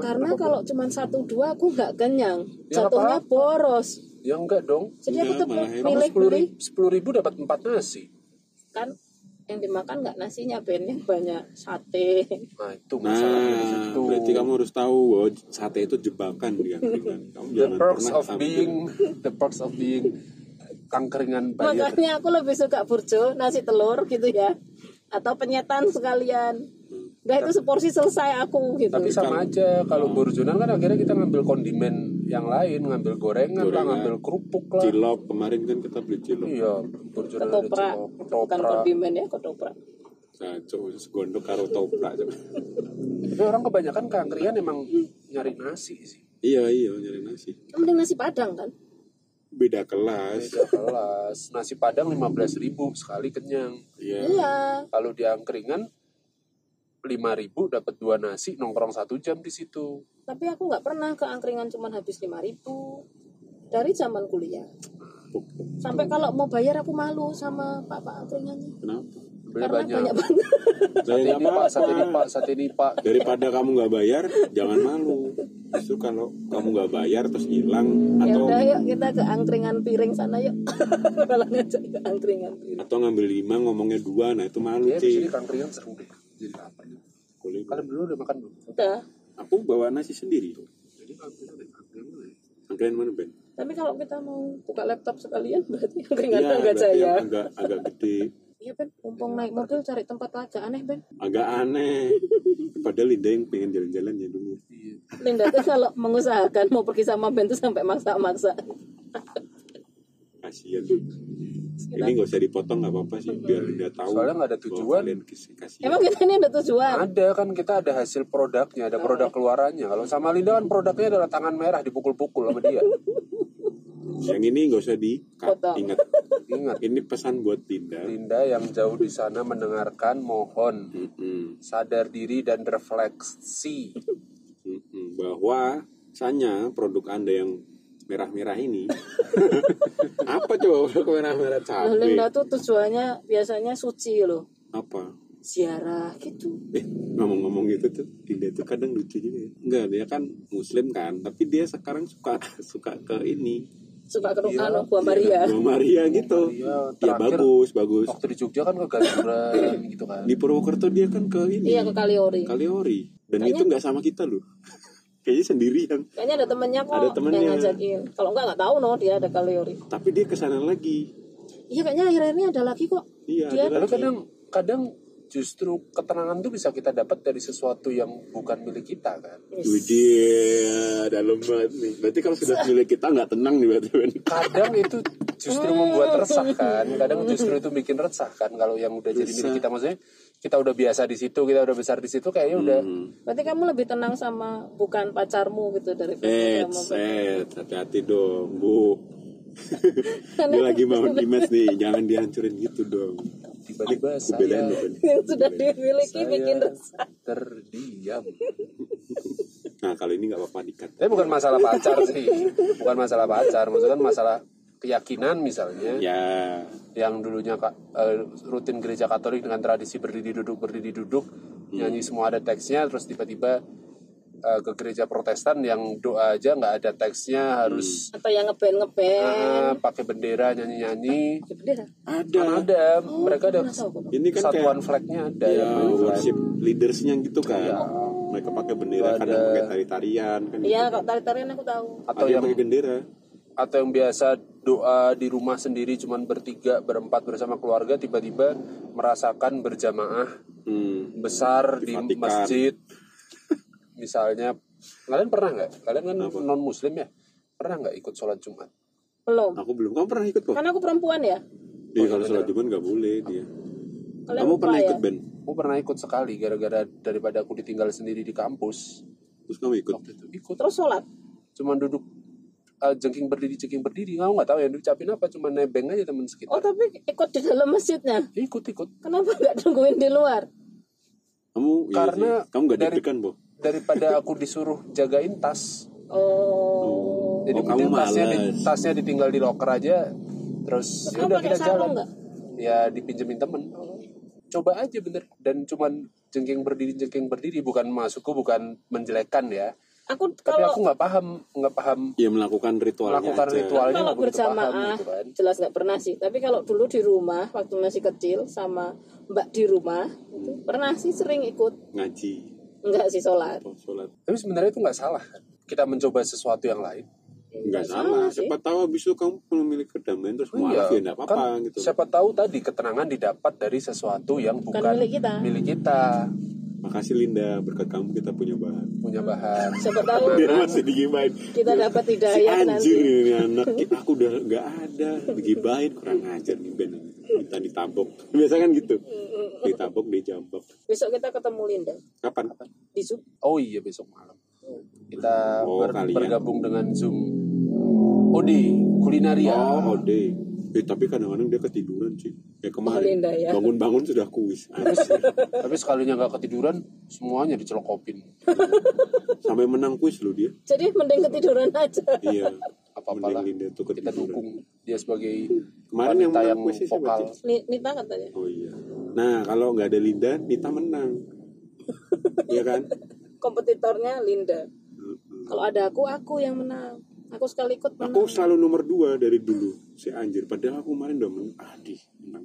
Speaker 3: Karena kalau cuma satu dua aku nggak kenyang,
Speaker 2: Ya,
Speaker 3: jatuhnya
Speaker 2: apa-apa.
Speaker 3: boros.
Speaker 2: ya enggak dong
Speaker 3: Jadi aku
Speaker 1: Enggak,
Speaker 3: tuh
Speaker 1: malah hemat.
Speaker 2: kamu
Speaker 3: pilih
Speaker 2: sepuluh
Speaker 3: beli
Speaker 2: ribu, dapat empat nasi
Speaker 3: kan yang dimakan nggak nasinya Ben yang banyak sate.
Speaker 2: nah itu
Speaker 1: nah
Speaker 2: masalahnya di situ.
Speaker 1: berarti kamu harus tahu bahwa sate itu jebakan di angkringan kamu
Speaker 2: the
Speaker 1: jangan
Speaker 2: perks
Speaker 1: pernah gitu.
Speaker 2: of
Speaker 1: tampil.
Speaker 2: being the perks of being angkringan bayar
Speaker 3: Makanya aku lebih suka burjo, nasi telur gitu ya. Atau penyetan sekalian. Nah itu seporsi selesai aku gitu.
Speaker 2: tapi Iya, sama aja kalau burjonan kan akhirnya kita ngambil kondimen yang lain ngambil gorengan, lah
Speaker 1: Gorengan.
Speaker 2: ngambil kerupuk lah
Speaker 1: cilok kemarin kan kita beli cilok
Speaker 2: iya burjonan ada
Speaker 3: ketoprak,
Speaker 2: cilok,
Speaker 3: bukan
Speaker 2: ketoprak
Speaker 3: kondimen ya ketoprak.
Speaker 1: nah cok gondok karo toprak Cok.
Speaker 2: tapi orang kebanyakan ke angkringan emang nyari nasi sih
Speaker 1: iya iya nyari nasi
Speaker 3: Mending nasi padang kan.
Speaker 1: beda kelas
Speaker 2: Beda kelas. Nasi Padang 15.000 sekali kenyang.
Speaker 1: iya
Speaker 3: Iya.
Speaker 2: Kalau di angkringan 5.000 dapat dua nasi nongkrong satu jam di situ.
Speaker 3: Tapi aku nggak pernah ke angkringan cuman habis 5000 dari zaman kuliah. Sampai kalau mau bayar aku malu sama pak-pak angkringannya.
Speaker 1: kenapa
Speaker 2: Beli
Speaker 3: Karena
Speaker 2: banyak.
Speaker 3: banyak banget.
Speaker 1: Dari
Speaker 2: Sate ini Pak, sate ini Pak, sate ini Pak.
Speaker 1: daripada kamu nggak bayar jangan malu justru kalau kamu nggak bayar terus hilang
Speaker 3: ya
Speaker 1: atau
Speaker 3: udah yuk kita ke angkringan piring sana yuk. Malah ngajak ke angkringan piring.
Speaker 1: atau ngambil lima ngomongnya dua nah itu malu
Speaker 2: Ya, di sini
Speaker 1: sih
Speaker 2: ke angkringan seru deh. Jadi lapar.
Speaker 1: Boleh.
Speaker 2: Kalian dulu udah makan belum?
Speaker 3: Udah.
Speaker 1: aku bawa nasi sendiri
Speaker 2: Jadi kalau kita di angkringan ya.
Speaker 1: angkringan mana Ben
Speaker 3: Tapi kalau kita mau buka laptop sekalian berarti angkringan
Speaker 1: Iya,
Speaker 3: tangga
Speaker 1: berarti
Speaker 3: jaya.
Speaker 1: yang agak agak gede
Speaker 3: Iya Ben, mumpung naik mobil cari tempat agak aneh Ben.
Speaker 1: agak aneh padahal lidah yang pengen jalan-jalan ya dulu
Speaker 2: Iya.
Speaker 3: Linda tuh kalau mengusahakan mau pergi sama Ben tuh sampai maksa-maksa.
Speaker 1: kasian
Speaker 2: Iya.
Speaker 1: ini nggak usah dipotong nggak apa-apa sih biar dia tahu
Speaker 2: Soalnya nggak ada
Speaker 1: bahwa
Speaker 2: tujuan.
Speaker 1: kalian kis- kasian
Speaker 3: Emang kita ini ada tujuan.
Speaker 2: Ada kan kita ada hasil produknya, ada produk keluarannya. Kalau sama Linda kan produknya adalah tangan merah dipukul-pukul sama dia.
Speaker 1: yang ini nggak usah di
Speaker 3: Potong.
Speaker 1: ingat
Speaker 2: Ingat,
Speaker 1: ini pesan buat Linda
Speaker 2: Linda yang jauh di sana mendengarkan mohon
Speaker 1: Mm-mm.
Speaker 2: sadar diri dan refleksi.
Speaker 1: Mm-mm. bahwa sanya produk anda yang merah-merah ini apa coba produk merah-merah
Speaker 3: Nah,
Speaker 1: cabe
Speaker 3: Linda tuh tujuannya biasanya suci loh.
Speaker 1: apa
Speaker 3: Ziarah gitu.
Speaker 1: eh ngomong-ngomong gitu tuh Dinda tuh kadang lucu juga ya enggak dia kan muslim kan tapi dia sekarang suka suka ke ini
Speaker 3: suka ke
Speaker 2: Iya,
Speaker 3: anu buah Maria.
Speaker 1: Bang Maria gitu
Speaker 2: Maria,
Speaker 1: ya
Speaker 2: terakhir-
Speaker 1: bagus bagus
Speaker 2: waktu di Jogja kan ke Gandura gitu kan
Speaker 1: di Purwokerto dia kan ke ini
Speaker 3: Iya ke Kaliori.
Speaker 1: Kaliori dan
Speaker 3: Kayaknya-
Speaker 1: itu nggak sama kita loh kayaknya sendirian
Speaker 3: Kayaknya ada temennya kok
Speaker 1: Ada temennya.
Speaker 3: yang ngajakin. Kalau enggak nggak tahu no dia ada Kaliori.
Speaker 1: tapi dia kesana lagi
Speaker 3: Iya kayaknya akhir-akhir ini ada lagi kok.
Speaker 1: iya
Speaker 3: Dia-
Speaker 1: ada
Speaker 2: Lalu
Speaker 1: lagi.
Speaker 2: kadang kadang justru ketenangan tuh bisa kita dapat dari sesuatu yang bukan milik kita kan.
Speaker 1: Widih, dalam banget nih. Berarti kalau sudah milik kita nggak tenang nih berarti.
Speaker 3: Iya,
Speaker 1: Ben.
Speaker 2: Kadang itu
Speaker 1: Hmm.
Speaker 2: justru membuat resah kan. Kadang justru itu bikin resah kan kalau yang udah jadi
Speaker 1: Resah.
Speaker 2: milik kita maksudnya kita udah biasa di situ, kita udah besar di situ kayaknya udah
Speaker 1: Hmm.
Speaker 3: Berarti kamu lebih tenang sama bukan pacarmu gitu dari
Speaker 1: Eh,
Speaker 3: sama-
Speaker 1: eh, hati-hati dong, Bu. dia lagi mau image nih, jangan dihancurin gitu dong.
Speaker 2: tiba-tiba
Speaker 1: Aku belain
Speaker 2: saya ya.
Speaker 1: loh, Ben.
Speaker 3: yang sudah dimiliki bikin
Speaker 2: saya
Speaker 3: resah.
Speaker 2: terdiam.
Speaker 1: Nah, kali ini nggak apa-apa dikat.
Speaker 2: Tapi bukan masalah pacar sih, bukan masalah pacar, maksudnya kan masalah keyakinan misalnya.
Speaker 1: Ya,
Speaker 2: yang dulunya Kak, eh, rutin gereja Katolik dengan tradisi berdiri duduk berdiri duduk
Speaker 1: Hmm.
Speaker 2: nyanyi semua ada teksnya terus tiba-tiba eh, ke gereja Protestan yang doa aja nggak ada teksnya
Speaker 1: Hmm.
Speaker 2: harus
Speaker 3: Atau yang ngeband
Speaker 1: Ah.
Speaker 3: ngeband.
Speaker 2: eh, pakai bendera nyanyi-nyanyi
Speaker 3: Ya, bendera.
Speaker 1: ada.
Speaker 2: ada mereka ada
Speaker 3: Mana tahu kok.
Speaker 1: Ini kan kayak
Speaker 2: satuan flagnya ada
Speaker 1: ya,
Speaker 2: yang main flag.
Speaker 1: worship leadersnya gitu kan. Mereka pakai bendera,
Speaker 2: Iya. Ada.
Speaker 1: kadang pakai tari-tarian kan.
Speaker 3: Iya, kalau tari-tarian aku tahu.
Speaker 2: atau
Speaker 1: Ada yang
Speaker 2: yang
Speaker 1: pakai bendera.
Speaker 2: atau yang biasa doa di rumah sendiri cuman bertiga berempat bersama keluarga tiba-tiba merasakan berjamaah
Speaker 1: Hmm.
Speaker 2: besar di,
Speaker 1: Vatikan.
Speaker 2: masjid misalnya kalian pernah nggak kalian kan non muslim ya pernah nggak ikut sholat jumat
Speaker 3: Belum.
Speaker 1: Aku belum. Kamu pernah ikut kok?
Speaker 3: Karena aku perempuan ya.
Speaker 1: Iya, kalau sholat Jumat nggak boleh dia.
Speaker 3: Kalian
Speaker 1: Kamu
Speaker 3: lupa
Speaker 1: pernah
Speaker 3: ya?
Speaker 1: ikut band?
Speaker 2: aku pernah ikut sekali gara-gara daripada aku ditinggal sendiri di kampus
Speaker 1: Terus kamu ikut?
Speaker 2: waktu itu ikut
Speaker 3: Terus sholat.
Speaker 2: cuman duduk eh, jengking berdiri jengking berdiri kamu nggak tahu yang diucapin apa cuman nebeng aja teman
Speaker 3: Oh
Speaker 2: sekitar
Speaker 3: tapi ikut di dalam masjidnya.
Speaker 2: ikut ikut
Speaker 3: Kenapa nggak tungguin di luar?
Speaker 1: Kamu iya
Speaker 2: Karena
Speaker 1: sih. kamu nggak
Speaker 2: dari-
Speaker 1: deg-degan, Bo.
Speaker 2: daripada aku disuruh jagain tas
Speaker 3: Oh.
Speaker 2: jadi
Speaker 1: Oh, kamu
Speaker 2: mungkin tasnya, di-
Speaker 1: malas.
Speaker 2: tasnya ditinggal di loker aja terus ya
Speaker 3: Nah, Kamu
Speaker 2: udah
Speaker 3: pakai
Speaker 2: kita
Speaker 3: sarung
Speaker 2: jalan
Speaker 3: nggak?
Speaker 2: ya dipinjemin temen coba aja bener dan cuman jengking berdiri jengking berdiri bukan masukku bukan menjelekan ya
Speaker 3: Aku
Speaker 2: tapi
Speaker 3: kalau
Speaker 2: aku nggak paham nggak paham
Speaker 1: Ya melakukan ritualnya
Speaker 2: melakukan
Speaker 1: aja.
Speaker 2: ritualnya
Speaker 3: kalau
Speaker 2: nggak begitu paham
Speaker 3: berjamaah
Speaker 2: gitu kan
Speaker 3: jelas nggak pernah sih tapi kalau dulu di rumah waktu masih kecil sama mbak di rumah itu pernah sih sering ikut
Speaker 1: Ngaji
Speaker 3: nggak sih sholat
Speaker 1: atau sholat.
Speaker 2: tapi sebenarnya itu nggak salah kan kita mencoba sesuatu yang lain
Speaker 1: Nggak salah.
Speaker 3: sih
Speaker 1: Siapa tahu abis itu kamu memiliki kedamaian terus mualaf ya nggak apa-apa
Speaker 2: Oh Iya. kan
Speaker 1: gitu.
Speaker 2: siapa tahu tadi ketenangan didapat dari sesuatu yang bukan,
Speaker 3: milik kita.
Speaker 2: milik kita.
Speaker 1: Makasih Linda, berkat kamu kita punya bahan.
Speaker 2: punya bahan
Speaker 3: siapa tahu
Speaker 1: Biar masih digibain.
Speaker 3: kita dapat
Speaker 1: Si
Speaker 3: hidayah
Speaker 1: anjir
Speaker 3: nanti
Speaker 1: ini anak, aku udah nggak ada digibain kurang ajar nih Ben. Minta ditampok. Biasa kan gitu. Ditampok, dijambak.
Speaker 3: besok kita ketemu Linda
Speaker 1: Kapan?
Speaker 3: di Zoom
Speaker 2: oh iya besok malam kita
Speaker 1: Oh,
Speaker 2: ber-
Speaker 1: kalian.
Speaker 2: bergabung dengan zoom Odi kulinaria
Speaker 1: Oh, Ode. Eh, tapi kadang-kadang dia ketiduran sih. Kayak
Speaker 3: Oh,
Speaker 1: kemarin.
Speaker 3: Linda ya.
Speaker 1: Bangun-bangun sudah kuis. Anjir.
Speaker 2: Tapi sekalinya nggak ketiduran, semuanya dicelokopin.
Speaker 1: Sampai menang kuis loh dia.
Speaker 3: jadi mending ketiduran aja
Speaker 1: Iya.
Speaker 2: Apa-apalah.
Speaker 1: Mending Linda tuh
Speaker 2: Kita
Speaker 1: ketiduran.
Speaker 2: dukung dia sebagai
Speaker 1: Kemarin yang
Speaker 2: wanita
Speaker 1: menang
Speaker 2: yang,
Speaker 1: kuisnya siapa,
Speaker 2: vokal.
Speaker 1: Cik?
Speaker 3: Ni- Nita kan katanya
Speaker 1: Oh iya. Nah, kalau nggak ada Linda, Nita menang. Iya kan?
Speaker 3: kompetitornya Linda kalau ada aku aku yang menang aku sekali ikut menang
Speaker 1: Aku selalu nomor dua dari dulu. Si anjir. Padahal aku kemarin udah menang. Adih, menang.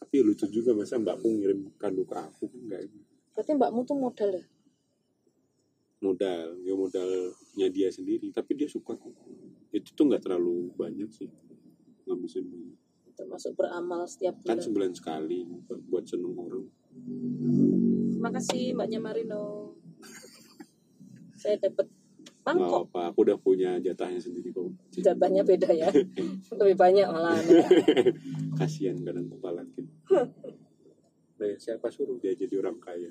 Speaker 1: Tapi ya lucu juga masa mbakku ngirim kado ke aku kan nggak
Speaker 3: berarti mbakmu tuh modal ya
Speaker 1: modal ya modalnya dia sendiri tapi dia suka kok. itu tuh nggak terlalu banyak sih ngabisin banyak.
Speaker 3: termasuk beramal setiap
Speaker 1: kan
Speaker 3: bulan
Speaker 1: sebulan sekali buat seneng orang
Speaker 3: makasih mbaknya Marino saya dapat
Speaker 1: nggak
Speaker 3: mangkok
Speaker 1: apa aku udah punya jatahnya sendiri kok Jadi,
Speaker 3: jatahnya beda ya lebih banyak malah
Speaker 1: kasihan kadang kepala gitu Nah, siapa suruh dia jadi orang kaya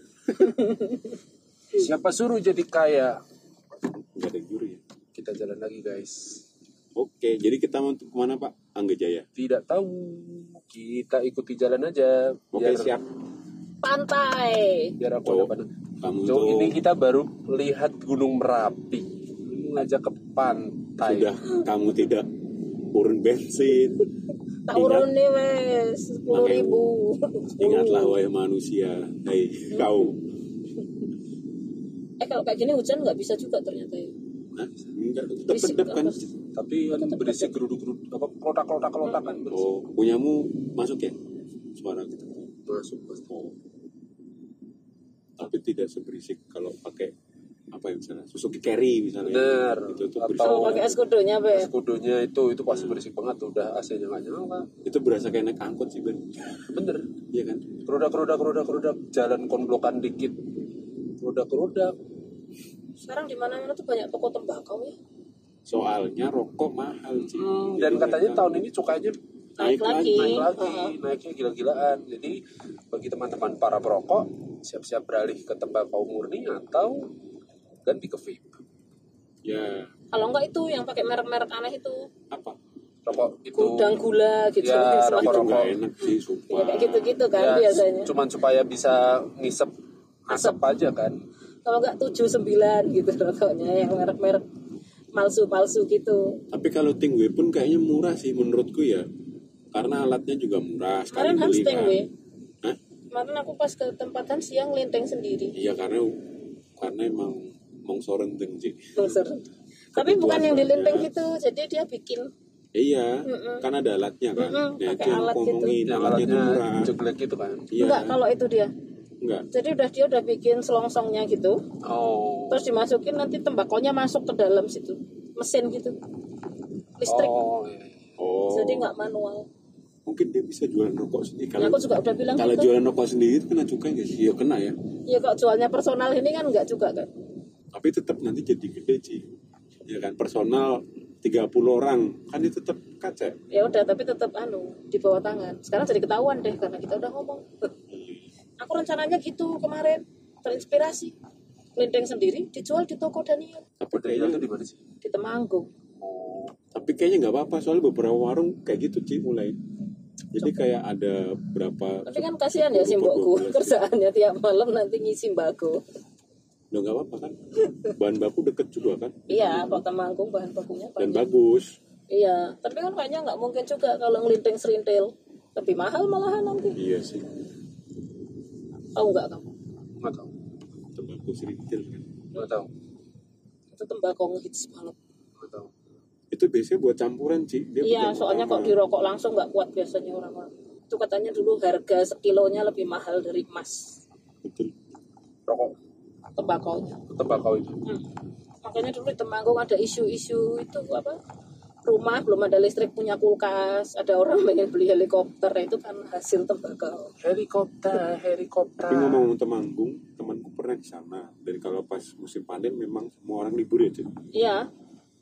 Speaker 2: Siapa suruh jadi kaya?
Speaker 1: nggak ada juri ya
Speaker 2: Kita jalan lagi guys.
Speaker 1: oke jadi kita mau untuk kemana pak Angga Jaya
Speaker 2: Tidak tahu. Kita ikuti jalan aja.
Speaker 1: oke
Speaker 2: Biar,
Speaker 1: siap
Speaker 3: pantai
Speaker 2: Biar aku
Speaker 1: Tuh.
Speaker 2: ada pada-
Speaker 1: kamu
Speaker 2: Tuh,
Speaker 1: tuh
Speaker 2: ini kita baru lihat Gunung Merapi. Ini ngajak ke pantai.
Speaker 1: sudah kamu tidak urun bensin
Speaker 3: tak
Speaker 1: Ingat.
Speaker 3: urun nih wes sepuluh ribu
Speaker 1: ingatlah wahai manusia hei kau
Speaker 3: eh kalau kayak gini hujan nggak bisa juga ternyata ya
Speaker 1: Hah? Enggak, tetap
Speaker 3: Berisik
Speaker 1: kedap kan
Speaker 3: apa?
Speaker 2: tapi kan berisi geruduk-geruduk apa kelotak-kelotak kelotak kan berisi.
Speaker 1: Oh, punyamu masuk ya suara kita.
Speaker 2: Masuk pasti.
Speaker 1: Oh. Tapi tidak seberisik kalau pakai apa ya misalnya susuk carry misalnya.
Speaker 2: Bener.
Speaker 1: Itu itu berisik.
Speaker 2: Atau-
Speaker 3: Kalau pakai es kudonya
Speaker 2: Es
Speaker 3: be.
Speaker 2: kudonya itu itu pasti berisik banget tuh, udah AC-nya nggak nyala.
Speaker 1: Itu berasa kayak naik angkot sih Ben.
Speaker 2: Bener.
Speaker 1: Iya kan?
Speaker 2: Keroda-keroda keroda-keroda jalan konblokan dikit. Keroda-keroda
Speaker 3: Sekarang di mana-mana tuh banyak toko tembakau ya.
Speaker 1: Soalnya rokok mahal sih.
Speaker 2: Hmm, dan
Speaker 1: iya.
Speaker 2: katanya tahun ini cukainya
Speaker 3: Naik,
Speaker 1: Naik lagi.
Speaker 3: lagi.
Speaker 2: naik lagi,
Speaker 3: Heeh.
Speaker 2: naiknya gila-gilaan. Jadi bagi teman-teman para perokok, siap-siap beralih ke tembakau murni atau ganti ke vape.
Speaker 1: Ya,
Speaker 3: Kalau enggak itu yang pakai merek-merek aneh itu
Speaker 1: apa?
Speaker 2: Rokok itu
Speaker 3: gudang gula gitu.
Speaker 2: Ya,
Speaker 3: Selain-
Speaker 1: Itu
Speaker 2: Rokok-rokok.
Speaker 1: nggak enak sih, sumpah.
Speaker 3: Ya, kayak gitu-gitu kan
Speaker 2: ya,
Speaker 3: biasanya.
Speaker 2: cuman supaya bisa ngisep asap aja kan.
Speaker 3: Kalau enggak 79 gitu rokoknya yang merek-merek palsu-palsu gitu.
Speaker 1: Tapi kalau tingwe pun kayaknya murah sih menurutku ya. Karena alatnya juga murah sekali
Speaker 3: Kemarin
Speaker 1: beli
Speaker 3: Hamsteng
Speaker 1: kan.
Speaker 3: we.
Speaker 1: Hah?
Speaker 3: Kemarin aku pas ke tempat Hans yang lenteng sendiri.
Speaker 1: Iya karena karena emang mongsoran sih.
Speaker 3: Loser. Tapi bukan yang di
Speaker 1: banget.
Speaker 3: lenteng gitu, jadi dia bikin
Speaker 1: Iya,
Speaker 3: Mm-mm.
Speaker 1: kan ada alatnya kan.
Speaker 3: Mm-mm,
Speaker 1: Ya,
Speaker 3: pakai
Speaker 1: dia
Speaker 3: alat gitu.
Speaker 1: ngomongin
Speaker 2: Yang
Speaker 1: alatnya tuh
Speaker 2: alatnya
Speaker 1: murah.
Speaker 2: jeglek gitu kan.
Speaker 1: Iya,
Speaker 3: enggak kalau itu dia.
Speaker 1: enggak.
Speaker 3: Jadi udah dia udah bikin selongsongnya gitu.
Speaker 2: Oh.
Speaker 3: terus dimasukin nanti tembakonya masuk ke dalam situ mesin gitu listrik
Speaker 2: Oh, iya.
Speaker 1: Oh,
Speaker 3: jadi nggak manual
Speaker 1: mungkin dia bisa jualan rokok sendiri. Kalau
Speaker 3: Nah, aku juga udah bilang
Speaker 1: kalau
Speaker 3: gitu
Speaker 1: jualan rokok sendiri itu kena cukai nggak sih? Ya kena ya.
Speaker 3: ya kalau jualnya personal ini kan nggak juga kan
Speaker 1: Tapi tetap nanti jadi gede sih. Ya kan personal 30 orang kan dia tetap kaca.
Speaker 3: ya udah tapi tetap anu di bawah tangan sekarang jadi ketahuan deh karena kita udah ngomong aku rencananya gitu kemarin terinspirasi linteng sendiri dijual di toko Daniel
Speaker 1: Tapi
Speaker 2: Bedanya itu
Speaker 1: kayaknya
Speaker 2: di mana sih?
Speaker 3: di Temanggung
Speaker 2: Oh.
Speaker 1: tapi kayaknya nggak apa-apa soalnya beberapa warung kayak gitu sih mulai. Jadi kayak ada berapa
Speaker 3: tapi kan kasihan ya simbokku kerjaannya tiap malam nanti ngisi mbako
Speaker 1: Udah nggak apa-apa kan Bahan baku deket juga kan
Speaker 3: iya kalau Temanggung bahan bakunya
Speaker 1: Dan
Speaker 3: banyak
Speaker 1: bagus
Speaker 3: Iya, tapi kan kayaknya nggak mungkin juga kalau ngelinting serintil. Lebih mahal malahan nanti.
Speaker 1: Iya sih
Speaker 3: Tahu nggak kamu?
Speaker 2: Nggak tahu.
Speaker 1: Tembakau serintil kan
Speaker 2: Nggak tahu.
Speaker 3: Itu tembakau ngehits banget.
Speaker 2: Nggak tahu.
Speaker 1: Itu biasanya buat campuran sih Dia
Speaker 3: Iya,
Speaker 1: bukan
Speaker 3: soalnya
Speaker 1: utama.
Speaker 3: kalau dirokok langsung nggak kuat biasanya orang-orang. Itu katanya dulu harga sekilonya lebih mahal dari emas
Speaker 1: Betul
Speaker 2: Rokok
Speaker 3: tembakaunya.
Speaker 2: tembakau itu.
Speaker 3: Hmm. Makanya dulu di Temanggung ada isu-isu itu apa? Rumah belum ada listrik punya kulkas, ada orang pengen beli helikopter itu kan hasil tembakau.
Speaker 2: Helikopter, helikopter.
Speaker 1: Tapi ngomong temanggung Temanku pernah di sana Dan kalau pas musim panen Memang semua orang libur ya Cik.
Speaker 3: Iya,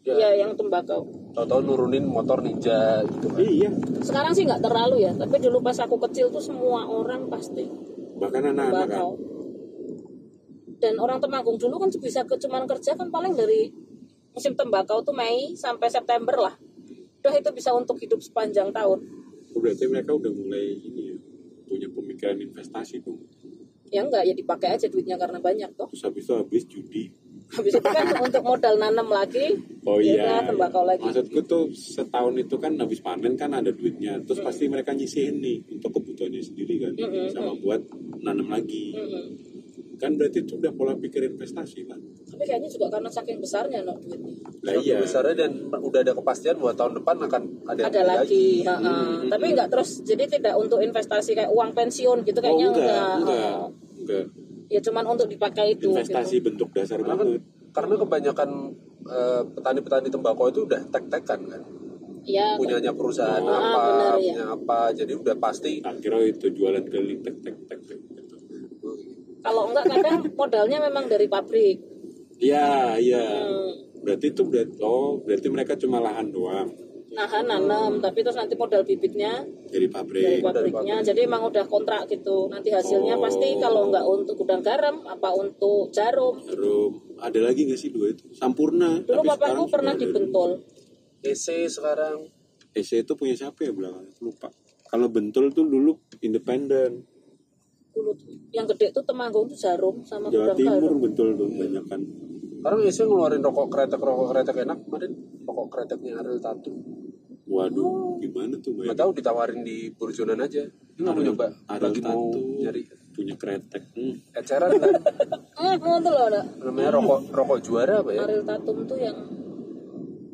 Speaker 2: Ya.
Speaker 3: iya yang tembakau.
Speaker 2: Tahu-tahu nurunin motor ninja gitu kan.
Speaker 1: Iya
Speaker 3: Sekarang sih nggak terlalu ya, tapi dulu pas aku kecil tuh semua orang pasti
Speaker 1: Bahkan anak-anak kan
Speaker 3: bakau. Dan orang Temanggung dulu kan bisa ke cuman kerja kan paling dari musim tembakau tuh Mei sampai September lah. Udah itu bisa untuk hidup sepanjang tahun.
Speaker 1: Oh, Berarti mereka udah mulai ini ya Punya pemikiran investasi dong
Speaker 3: Ya enggak ya dipakai aja duitnya karena banyak toh.
Speaker 1: Terus habis itu habis judi
Speaker 3: Habis itu kan untuk modal nanam lagi.
Speaker 1: Oh
Speaker 3: ya
Speaker 1: iya,
Speaker 3: kan, tembakau lagi.
Speaker 1: Maksudku tuh setahun itu kan habis panen kan ada duitnya, terus pasti mereka nyisihin nih untuk kebutuhannya sendiri kan,
Speaker 3: Mm-mm.
Speaker 1: sama buat nanam lagi.
Speaker 3: Mm-mm.
Speaker 1: Kan berarti itu udah pola pikir investasi kan?
Speaker 3: Tapi kayaknya juga karena saking besarnya loh duitnya.
Speaker 1: Lah
Speaker 2: Saking
Speaker 1: iya.
Speaker 2: besarnya dan udah ada kepastian bahwa tahun depan akan ada,
Speaker 3: Ada lagi, ha-ha.
Speaker 1: Hmm,
Speaker 3: tapi enggak terus jadi tidak untuk investasi kayak uang pensiun
Speaker 1: Oh
Speaker 3: gitu kayaknya
Speaker 1: enggak, enggak,
Speaker 3: ha-ha.
Speaker 1: enggak.
Speaker 3: Ya cuman untuk dipakai itu.
Speaker 1: Investasi
Speaker 3: gitu.
Speaker 1: bentuk dasar
Speaker 2: Karena, kan-
Speaker 1: banget.
Speaker 2: karena kebanyakan eh, petani-petani tembakau itu udah tek-tekan kan.
Speaker 3: Iya.
Speaker 2: Punyanya perusahaan
Speaker 1: Oh,
Speaker 2: apa,
Speaker 3: benar, ya.
Speaker 2: punya apa. Jadi udah pasti
Speaker 1: Akhirnya itu jualan keliling tek tek tek tek. gitu.
Speaker 3: Kalau enggak kadang modalnya memang dari pabrik.
Speaker 1: Iya, iya.
Speaker 3: Hmm,
Speaker 1: Berarti itu berarti oh berarti mereka cuma lahan doang
Speaker 3: nahan
Speaker 1: Oh.
Speaker 3: nanam, tapi terus nanti modal bibitnya
Speaker 1: dari
Speaker 3: dari
Speaker 1: pabrik.
Speaker 3: pabriknya. Jadi emang udah kontrak gitu. Nanti hasilnya
Speaker 1: Oh.
Speaker 3: pasti kalau enggak untuk gudang garam, apa untuk jarum.
Speaker 1: Terus ada lagi nggak sih dua itu? Sampurna. tapi
Speaker 3: Dulu
Speaker 1: sekarang
Speaker 3: bapakku
Speaker 1: sudah
Speaker 3: pernah
Speaker 1: ada dua.
Speaker 3: dibentul.
Speaker 2: EC E sekarang.
Speaker 1: EC itu punya siapa ya belakangnya lupa kalau bentul tuh dulu independen
Speaker 3: Dulu tuh. yang gede tuh Temanggung tuh jarum sama
Speaker 1: Jawa
Speaker 3: gudang
Speaker 1: Timur
Speaker 3: garam.
Speaker 1: bentul tuh banyak kan
Speaker 2: Sekarang EC ngeluarin rokok kretek, rokok kretek enak. Kemarin rokok kreteknya Ariel Tatu.
Speaker 3: Oh.
Speaker 1: waduh gimana tuh
Speaker 2: Gak
Speaker 1: banyak
Speaker 2: tahu ditawarin di Burjonan aja. Ini nggak mau nyoba.
Speaker 1: ada
Speaker 2: Lagi mau nyari
Speaker 1: punya kretek hmm.
Speaker 2: eceran kan.
Speaker 3: Eh, mau tuh loh, Nak.
Speaker 2: Namanya rokok rokok juara apa ya?
Speaker 3: Aril Tatum tuh yang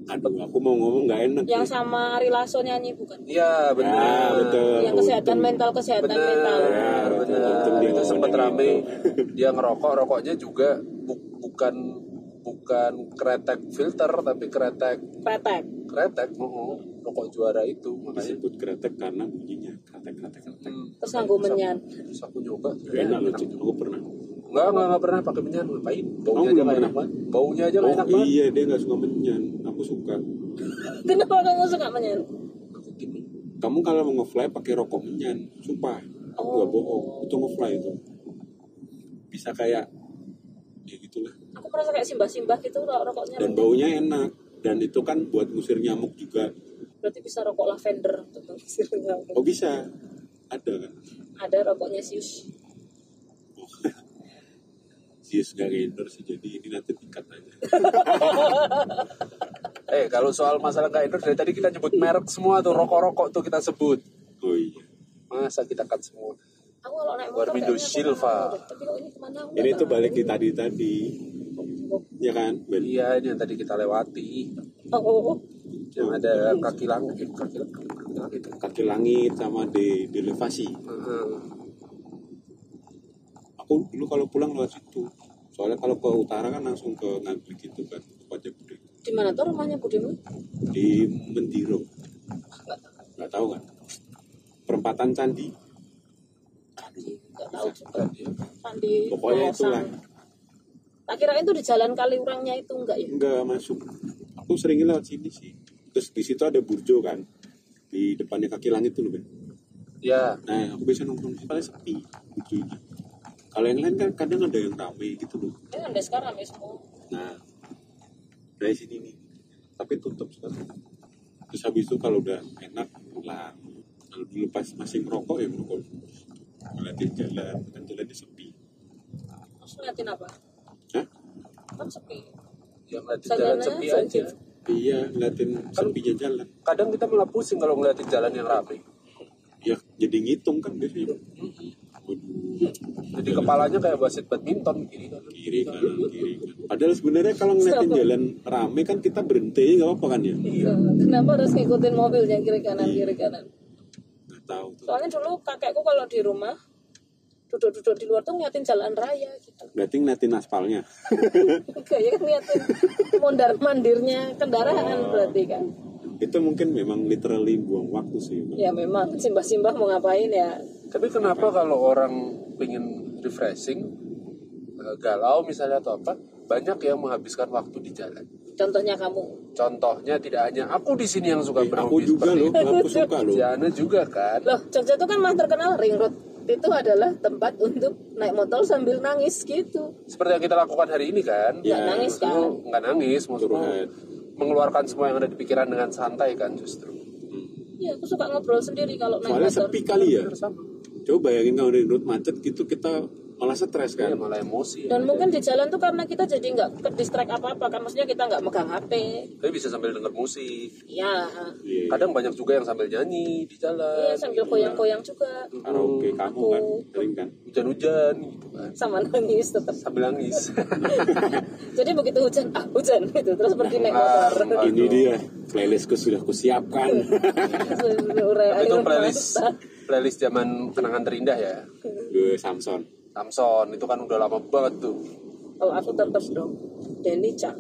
Speaker 1: aduh aku mau ngomong nggak enak
Speaker 3: yang sama Rilaso nyanyi bukan
Speaker 2: Iya benar.
Speaker 1: Ya, betul.
Speaker 3: yang kesehatan mental kesehatan mental
Speaker 1: Ya,
Speaker 2: Benar,
Speaker 1: untung dia
Speaker 2: benar. Itu
Speaker 1: ngomongin
Speaker 2: sempat
Speaker 1: itu.
Speaker 2: rame. Dia ngerokok, rokoknya juga bu- bukan bukan kretek filter tapi kretek
Speaker 3: petek
Speaker 2: kretek uh-uh. rokok juara itu makanya
Speaker 1: disebut kretek karena bunyinya kretek kretek kretek
Speaker 2: hmm,
Speaker 3: terus nganggo menyan
Speaker 2: terus aku nyoba
Speaker 1: enak loh Cik. aku pernah
Speaker 2: Enggak, enggak, enggak pernah pakai menyan ngapain baunya
Speaker 1: Kamu
Speaker 2: aja
Speaker 1: belum
Speaker 2: nggak
Speaker 1: pernah?
Speaker 2: enak banget baunya aja nggak enak
Speaker 1: oh
Speaker 2: banget
Speaker 1: iya dia nggak suka menyan aku suka
Speaker 3: kenapa kamu suka menyan
Speaker 2: aku gini
Speaker 1: kamu kalau mau ngefly pakai rokok menyan sumpah aku
Speaker 3: Oh.
Speaker 1: nggak bohong itu ngefly itu bisa kayak ya gitulah
Speaker 3: aku merasa kayak simbah-simbah gitu ro- rokoknya
Speaker 1: dan baunya enak dan itu kan buat ngusir nyamuk juga
Speaker 3: berarti bisa rokok lavender untuk mengusir nyamuk.
Speaker 1: oh bisa ada kan
Speaker 3: ada rokoknya sius
Speaker 1: oh. Yes, gak endorse sih, jadi ini nanti tingkat aja.
Speaker 2: eh kalau soal masalah nggak endorse dari tadi kita nyebut merek semua tuh rokok-rokok tuh kita sebut
Speaker 1: Oh iya.
Speaker 2: masa kita cut semua
Speaker 3: aku kalau naik motor
Speaker 2: Warmindo
Speaker 3: kayaknya
Speaker 2: Silva.
Speaker 3: kemana deh. tapi kalau ini kemana aku
Speaker 1: Ini
Speaker 3: nggak
Speaker 1: tuh
Speaker 3: tahu.
Speaker 1: balik di tadi tadi, ya kan? Ben?
Speaker 2: iya ini yang tadi kita lewati
Speaker 3: oh, oh, oh.
Speaker 2: yang ada kaki langit eh, kaki langit kaki langit
Speaker 1: Kaki langit sama di elevasi.
Speaker 2: Heeh.
Speaker 1: Aku dulu kalau pulang lewat situ. Soalnya kalau ke utara kan langsung ke Ngaglik gitu kan, ke Pajak Gede.
Speaker 3: di mana tuh rumahnya budimu
Speaker 1: Di Mendiro. Gak tahu kan? Perempatan Candi.
Speaker 3: Candi nggak tahu juga
Speaker 2: Tadi ya.
Speaker 3: Candi
Speaker 1: Pokoknya
Speaker 3: Kolosan.
Speaker 1: itulah.
Speaker 3: tak kirain tuh di jalan kali urangnya itu enggak ya
Speaker 1: Enggak masuk. Aku sering lewat sini sih. Terus di situ ada burjo kan. Di depannya kaki langit tuh loh, Ben.
Speaker 2: ya
Speaker 1: Nah, aku bisa nongkrong di situ, paling sepi burjonya. Kalau yang lain kan kadang ada yang ramai gitu loh.
Speaker 3: ini ada sekarang ya semua
Speaker 1: Nah, dari sini nih. Tapi tutup sekarang. Terus habis itu kalau udah enak pulang. Kalau dulu pas masih ngerokok ya ngerokok. Ngeliatin jalan, kan jalannya sepi.
Speaker 3: terus ngeliatin apa
Speaker 1: Hah?
Speaker 3: kan sepi
Speaker 2: yang ngeliatin jalan
Speaker 3: Jalannya
Speaker 2: sepi
Speaker 3: sepi.
Speaker 2: aja
Speaker 1: Iya, ngeliatin sepinya jalan.
Speaker 2: kadang kita malah pusing kalau ngeliatin jalan yang ramai
Speaker 1: Ya, jadi ngitung kan biasanya. Waduh,
Speaker 2: jadi kepalanya kayak wasit badminton gini kan
Speaker 1: kiri kanan, kiri kanan. Padahal sebenarnya kalau ngeliatin
Speaker 3: Sama.
Speaker 1: jalan rame kan kita berhenti nggak apa-apa kan ya?
Speaker 3: kenapa harus ngikutin mobilnya kiri kanan
Speaker 1: Iya.
Speaker 3: kiri kanan
Speaker 1: Nggak tahu tuh.
Speaker 3: soalnya dulu kakekku kalau di rumah duduk-duduk di luar tuh ngeliatin jalan raya gitu
Speaker 1: Berarti ngeliatin aspalnya.
Speaker 3: kayak ngeliatin mondar mandirnya kendaraan
Speaker 1: Oh.
Speaker 3: berarti kan
Speaker 1: Itu mungkin memang literally buang waktu sih. Bang.
Speaker 3: ya memang simbah-simbah mau ngapain ya
Speaker 2: tapi kenapa kalau orang pengen refreshing eh, galau misalnya atau apa banyak yang menghabiskan waktu di jalan
Speaker 3: contohnya kamu
Speaker 2: contohnya tidak hanya aku di sini yang
Speaker 1: Eh,
Speaker 2: suka
Speaker 1: aku
Speaker 2: berhobi
Speaker 1: juga
Speaker 2: seperti
Speaker 1: loh,
Speaker 2: itu.
Speaker 1: aku suka loh.
Speaker 2: Jana juga kan
Speaker 3: loh Jogja itu kan mah terkenal ring road itu adalah tempat untuk naik motor sambil nangis gitu
Speaker 2: seperti yang kita lakukan hari ini kan
Speaker 3: nggak
Speaker 1: Ya,
Speaker 3: nangis
Speaker 2: Maksudmu
Speaker 3: kan
Speaker 2: nggak nangis maksudmu
Speaker 1: Curhat.
Speaker 2: mengeluarkan semua yang ada di pikiran dengan santai kan justru
Speaker 1: Hmm.
Speaker 3: iya aku suka ngobrol sendiri kalau naik
Speaker 1: Soalnya
Speaker 3: motor
Speaker 1: sepi kali ya.
Speaker 2: bersama
Speaker 1: Coba bayangin kalau di road macet gitu kita malah stres
Speaker 2: ya,
Speaker 1: kan.
Speaker 2: malah emosi ya.
Speaker 3: dan mungkin di jalan tuh karena kita jadi nggak ke distract apa apa kan maksudnya kita nggak megang HP
Speaker 2: tapi bisa sambil denger musik
Speaker 3: ya
Speaker 1: Iya.
Speaker 2: kadang banyak juga yang sambil nyanyi di
Speaker 3: iya
Speaker 2: jalan
Speaker 3: sambil goyang-goyang juga
Speaker 1: Karaoke kamu kan sering kan.
Speaker 2: hujan-hujan gitu kan
Speaker 3: sama nangis tetap
Speaker 2: sambil nangis
Speaker 3: jadi begitu hujan ah hujan gitu terus pergi naik motor
Speaker 2: Aduh.
Speaker 1: Ini dia playlistku sudah kusiapkan.
Speaker 3: Seluruh
Speaker 2: Tapi itu
Speaker 3: air
Speaker 2: playlist
Speaker 3: mata.
Speaker 2: playlist zaman kenangan terindah ya
Speaker 1: Gue Samson.
Speaker 2: Samson itu kan udah lama banget tuh
Speaker 3: kalau Oh, aku tetap dong Denny Chan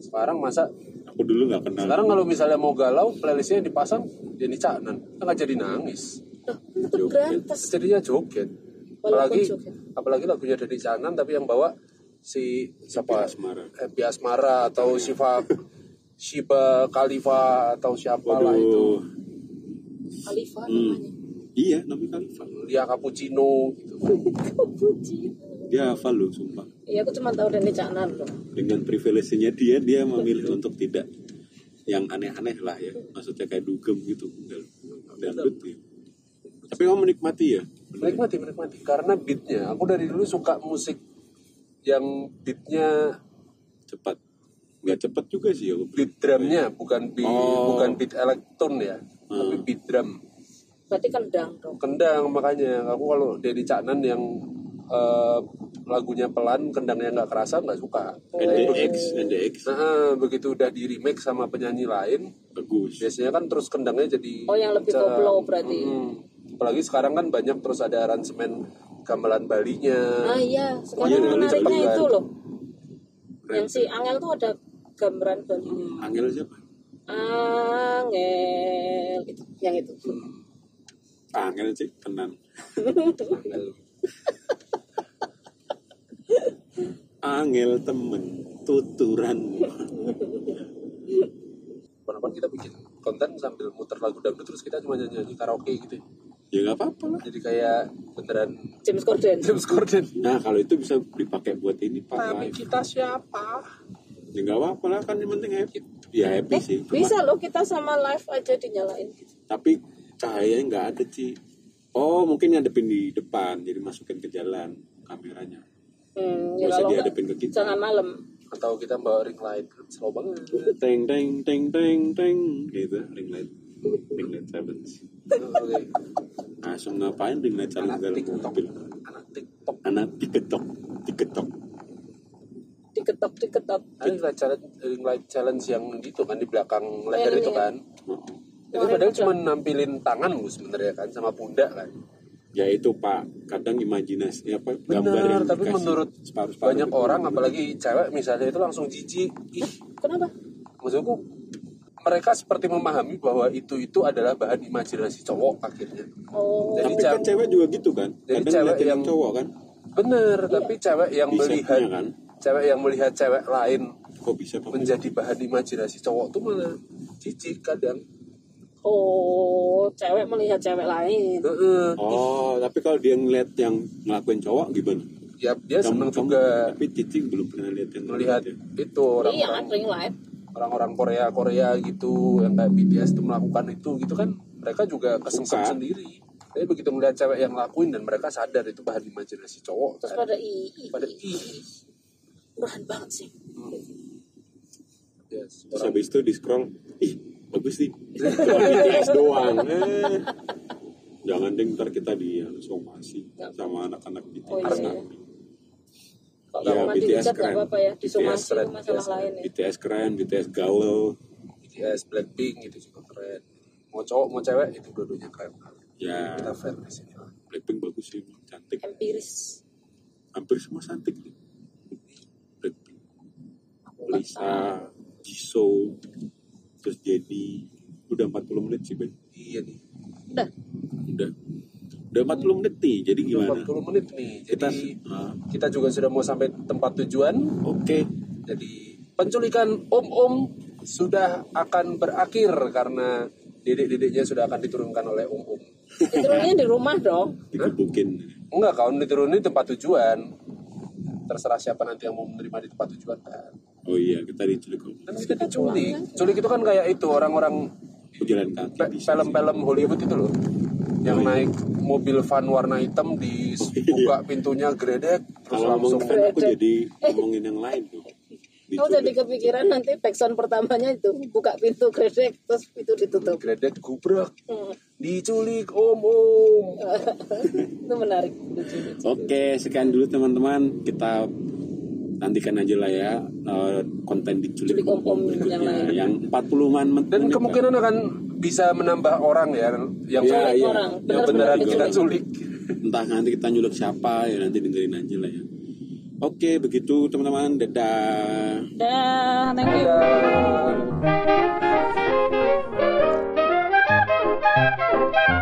Speaker 2: sekarang masa
Speaker 1: Aku dulu nggak kenal.
Speaker 2: sekarang kalau misalnya mau galau playlistnya dipasang jadi canan nggak jadi nangis
Speaker 3: Loh, itu berantas
Speaker 2: jadinya joget
Speaker 3: Walaupun
Speaker 2: apalagi
Speaker 3: joget.
Speaker 2: apalagi lagunya dari canan tapi yang bawa si siapa
Speaker 1: Asmara.
Speaker 2: Happy Asmara atau Siva Shiba Khalifa atau siapa lah itu
Speaker 1: Waduh.
Speaker 3: Khalifa
Speaker 2: Hmm.
Speaker 3: namanya
Speaker 1: Iya, namanya Khalifah.
Speaker 2: Lia Cappuccino gitu
Speaker 3: Puji.
Speaker 1: Dia hafal loh, sumpah.
Speaker 3: Iya, aku cuma tahu Denny Canan loh.
Speaker 1: Dengan privilege-nya dia, dia memilih untuk tidak yang aneh-aneh lah ya. Maksudnya kayak dugem gitu. Dan dangdut ya. Tapi kamu menikmati ya?
Speaker 2: menikmati menikmati karena beatnya aku dari dulu suka musik yang beatnya
Speaker 1: Cepat. Nggak cepat juga sih aku.
Speaker 2: beat drumnya bukan beat
Speaker 1: Oh.
Speaker 2: bukan beat elektron ya tapi beat drum
Speaker 3: Berarti kendang dong.
Speaker 2: kendang makanya aku kalau Denny Caknan yang eh, lagunya pelan, kendangnya nggak kerasa, nggak suka.
Speaker 1: NDX, NDX
Speaker 2: Nah, eh, begitu udah di remake sama penyanyi lain,
Speaker 1: bagus.
Speaker 2: biasanya kan terus kendangnya jadi
Speaker 3: Oh, yang lebih
Speaker 2: kencang.
Speaker 3: koplo berarti.
Speaker 2: Mm-mm. apalagi sekarang kan banyak terus ada aransemen gamelan Balinya
Speaker 3: Ah iya,
Speaker 2: iya,
Speaker 3: sekarang
Speaker 2: Bali,
Speaker 3: menariknya
Speaker 2: Bali.
Speaker 3: itu loh. Yang si Angel tuh ada gambaran Bali.
Speaker 1: Angel siapa?
Speaker 3: Angel itu, yang itu.
Speaker 2: Hmm.
Speaker 1: Angel sih tenan.
Speaker 2: Angel.
Speaker 1: Angel temen tuturan.
Speaker 2: kapan-kapan kita bikin konten sambil muter lagu dangdut terus kita cuma nyanyi-nyanyi karaoke gitu ya.
Speaker 1: Ya nggak apa-apa lah.
Speaker 2: jadi kayak beneran
Speaker 3: James Corden.
Speaker 2: James Corden
Speaker 1: Nah kalau itu bisa dipakai buat ini pak
Speaker 2: Tapi
Speaker 1: live.
Speaker 2: kita siapa?
Speaker 1: Ya nggak apa-apa lah kan yang penting happy. Ya happy
Speaker 3: Eh,
Speaker 1: sih. Cuma-
Speaker 3: bisa loh kita sama live aja dinyalain.
Speaker 1: Tapi cahayanya nggak ada Ci. Oh mungkin ngadepin di depan jadi masukin ke jalan kameranya. Nggak
Speaker 3: Hmm, ya
Speaker 1: usah
Speaker 3: kalau nggak,
Speaker 1: dihadapin ke
Speaker 2: gitu.
Speaker 1: kita.
Speaker 3: jangan malam.
Speaker 2: Atau kita bawa ring light Slow banget
Speaker 1: Teng teng teng teng teng gitu ring light ring light challenge.
Speaker 2: Oke.
Speaker 1: Langsung Nah, ngapain ring light challenge
Speaker 2: Anak
Speaker 1: dalam
Speaker 2: tiktok
Speaker 1: mobil?
Speaker 2: Anak tiktok
Speaker 1: Anak diketok diketok.
Speaker 3: Diketok diketok.
Speaker 2: Ring light challenge, ring light challenge yang itu kan di belakang leher
Speaker 3: Yang
Speaker 2: itu
Speaker 3: ini.
Speaker 2: kan
Speaker 1: Oh.
Speaker 2: Itu padahal cuma nampilin tangan lu sebenarnya kan Sama pundak kan
Speaker 1: Ya itu pak, kadang imajinasi apa gambar yang
Speaker 2: Bener,
Speaker 1: dikasih
Speaker 2: tapi menurut
Speaker 1: separuh-separuh gitu.
Speaker 2: banyak
Speaker 1: itu
Speaker 2: orang
Speaker 1: bener-bener.
Speaker 2: apalagi cewek misalnya itu langsung jijik ih
Speaker 3: Kenapa?
Speaker 2: maksudku mereka seperti memahami bahwa itu itu adalah bahan imajinasi cowok akhirnya
Speaker 3: Oh,
Speaker 1: tapi
Speaker 2: Jadi
Speaker 1: kan
Speaker 2: cewek-
Speaker 1: cewek juga gitu kan
Speaker 2: jadi
Speaker 1: kadang
Speaker 2: cewek
Speaker 1: ngeliatin yang
Speaker 2: yang-
Speaker 1: cowok kan
Speaker 2: bener tapi cewek yang
Speaker 1: Bisa
Speaker 2: melihat
Speaker 1: punya, kan?
Speaker 2: cewek yang melihat cewek lain
Speaker 1: kok bisa Pak?
Speaker 2: menjadi bahan imajinasi cowok tuh malah jijik kadang
Speaker 3: oh, cewek melihat cewek lain.
Speaker 2: Heeh.
Speaker 1: oh tapi kalau dia ngeliat yang ngelakuin cowok gimana
Speaker 2: ya dia
Speaker 1: Kamu-
Speaker 2: seneng
Speaker 1: kamu-
Speaker 2: juga
Speaker 1: tapi Cici belum pernah lihat yang ya.
Speaker 2: melihat
Speaker 1: ngeliatin.
Speaker 2: itu
Speaker 3: Iya, kan
Speaker 2: orang-orang
Speaker 3: ring light.
Speaker 2: orang-orang Korea Korea gitu yang kayak BTS tuh melakukan itu gitu kan mereka juga kesengsem
Speaker 1: Suka.
Speaker 2: sendiri tapi begitu melihat cewek yang lakuin dan mereka sadar itu bahan imajinasi cowok
Speaker 3: Terus
Speaker 2: kan.
Speaker 3: pada i, i,
Speaker 2: pada
Speaker 3: i-
Speaker 2: ih
Speaker 3: murahan banget sih.
Speaker 2: yes,
Speaker 1: terus
Speaker 2: orang-
Speaker 1: habis itu di scroll ih bagus nih cuma BTS doang eh. jangan deh ntar kita di somasi sama anak-anak BTS
Speaker 3: Oh, iya, iya. Kalau
Speaker 1: Ya,
Speaker 3: cuma
Speaker 1: BTS
Speaker 3: dihujat nggak
Speaker 1: keren.
Speaker 3: apa-apa ya, disomasi
Speaker 2: keren,
Speaker 3: itu masalah
Speaker 2: BTS keren.
Speaker 3: lain ya.
Speaker 1: BTS keren BTS galau
Speaker 2: BTS, Blackpink gitu juga keren. Mau cowok mau cewek itu dua-duanya keren.
Speaker 1: ya
Speaker 2: Kita fair di sini lah.
Speaker 1: Blackpink bagus sih cantik
Speaker 3: Empiris.
Speaker 1: hampir semua cantik nih. Blackpink Lisa Jisoo terus jadi udah 40 menit sih Ben
Speaker 2: Iya nih.
Speaker 3: Udah,
Speaker 1: udah udah 40 menit nih jadi
Speaker 2: Udah
Speaker 1: gimana
Speaker 2: 40 menit nih.
Speaker 1: kita
Speaker 2: Jadi
Speaker 1: ah,
Speaker 2: kita juga sudah mau sampai tempat tujuan.
Speaker 1: oke
Speaker 2: Jadi penculikan om-om sudah akan berakhir karena didik-didiknya sudah akan diturunkan oleh om-om.
Speaker 3: diturunnya di rumah dong.
Speaker 1: dikebukin
Speaker 2: Enggak, kalau diturunin di tempat tujuan. Terserah siapa nanti yang mau menerima di tempat tujuan kan.
Speaker 1: oh iya kita diculik om.
Speaker 2: Dan kita diculik. Culik itu kan kayak itu orang-orang
Speaker 1: pejalan kaki
Speaker 2: Pe-
Speaker 1: bisa sih.
Speaker 2: film-film Hollywood itu loh
Speaker 1: Oh, iya.
Speaker 2: yang naik mobil van warna hitam dibuka pintunya gredek terus
Speaker 1: kalau
Speaker 2: langsung
Speaker 1: ngomongin fan aku
Speaker 3: Beda.
Speaker 1: jadi ngomongin yang lain tuh
Speaker 3: Kau jadi
Speaker 1: Diculik.
Speaker 3: kepikiran nanti backsound pertamanya itu buka pintu gredek terus pintu ditutup.
Speaker 2: gredek gubrak
Speaker 3: Hmm,
Speaker 2: diculik om om
Speaker 3: itu menarik. Lucu, lucu.
Speaker 1: Oke, sekian dulu teman-teman. Kita nantikan aja lah ya eh, konten diculik
Speaker 3: Culik om-om
Speaker 1: om-om
Speaker 3: yang lain.
Speaker 1: berikutnya yang 40-an menit.
Speaker 2: dan kemungkinan akan bisa menambah orang ya yang
Speaker 1: Iya,
Speaker 2: culik,
Speaker 1: iya.
Speaker 3: orang.
Speaker 2: yang
Speaker 1: Benar-benar
Speaker 2: beneran kita
Speaker 1: diculik.
Speaker 2: culik
Speaker 1: entah nanti kita nyulik siapa ya nanti dengerin aja lah ya. Oke, begitu teman-teman. Dadah.
Speaker 3: Dah, thank you.
Speaker 2: Iya. Dadah.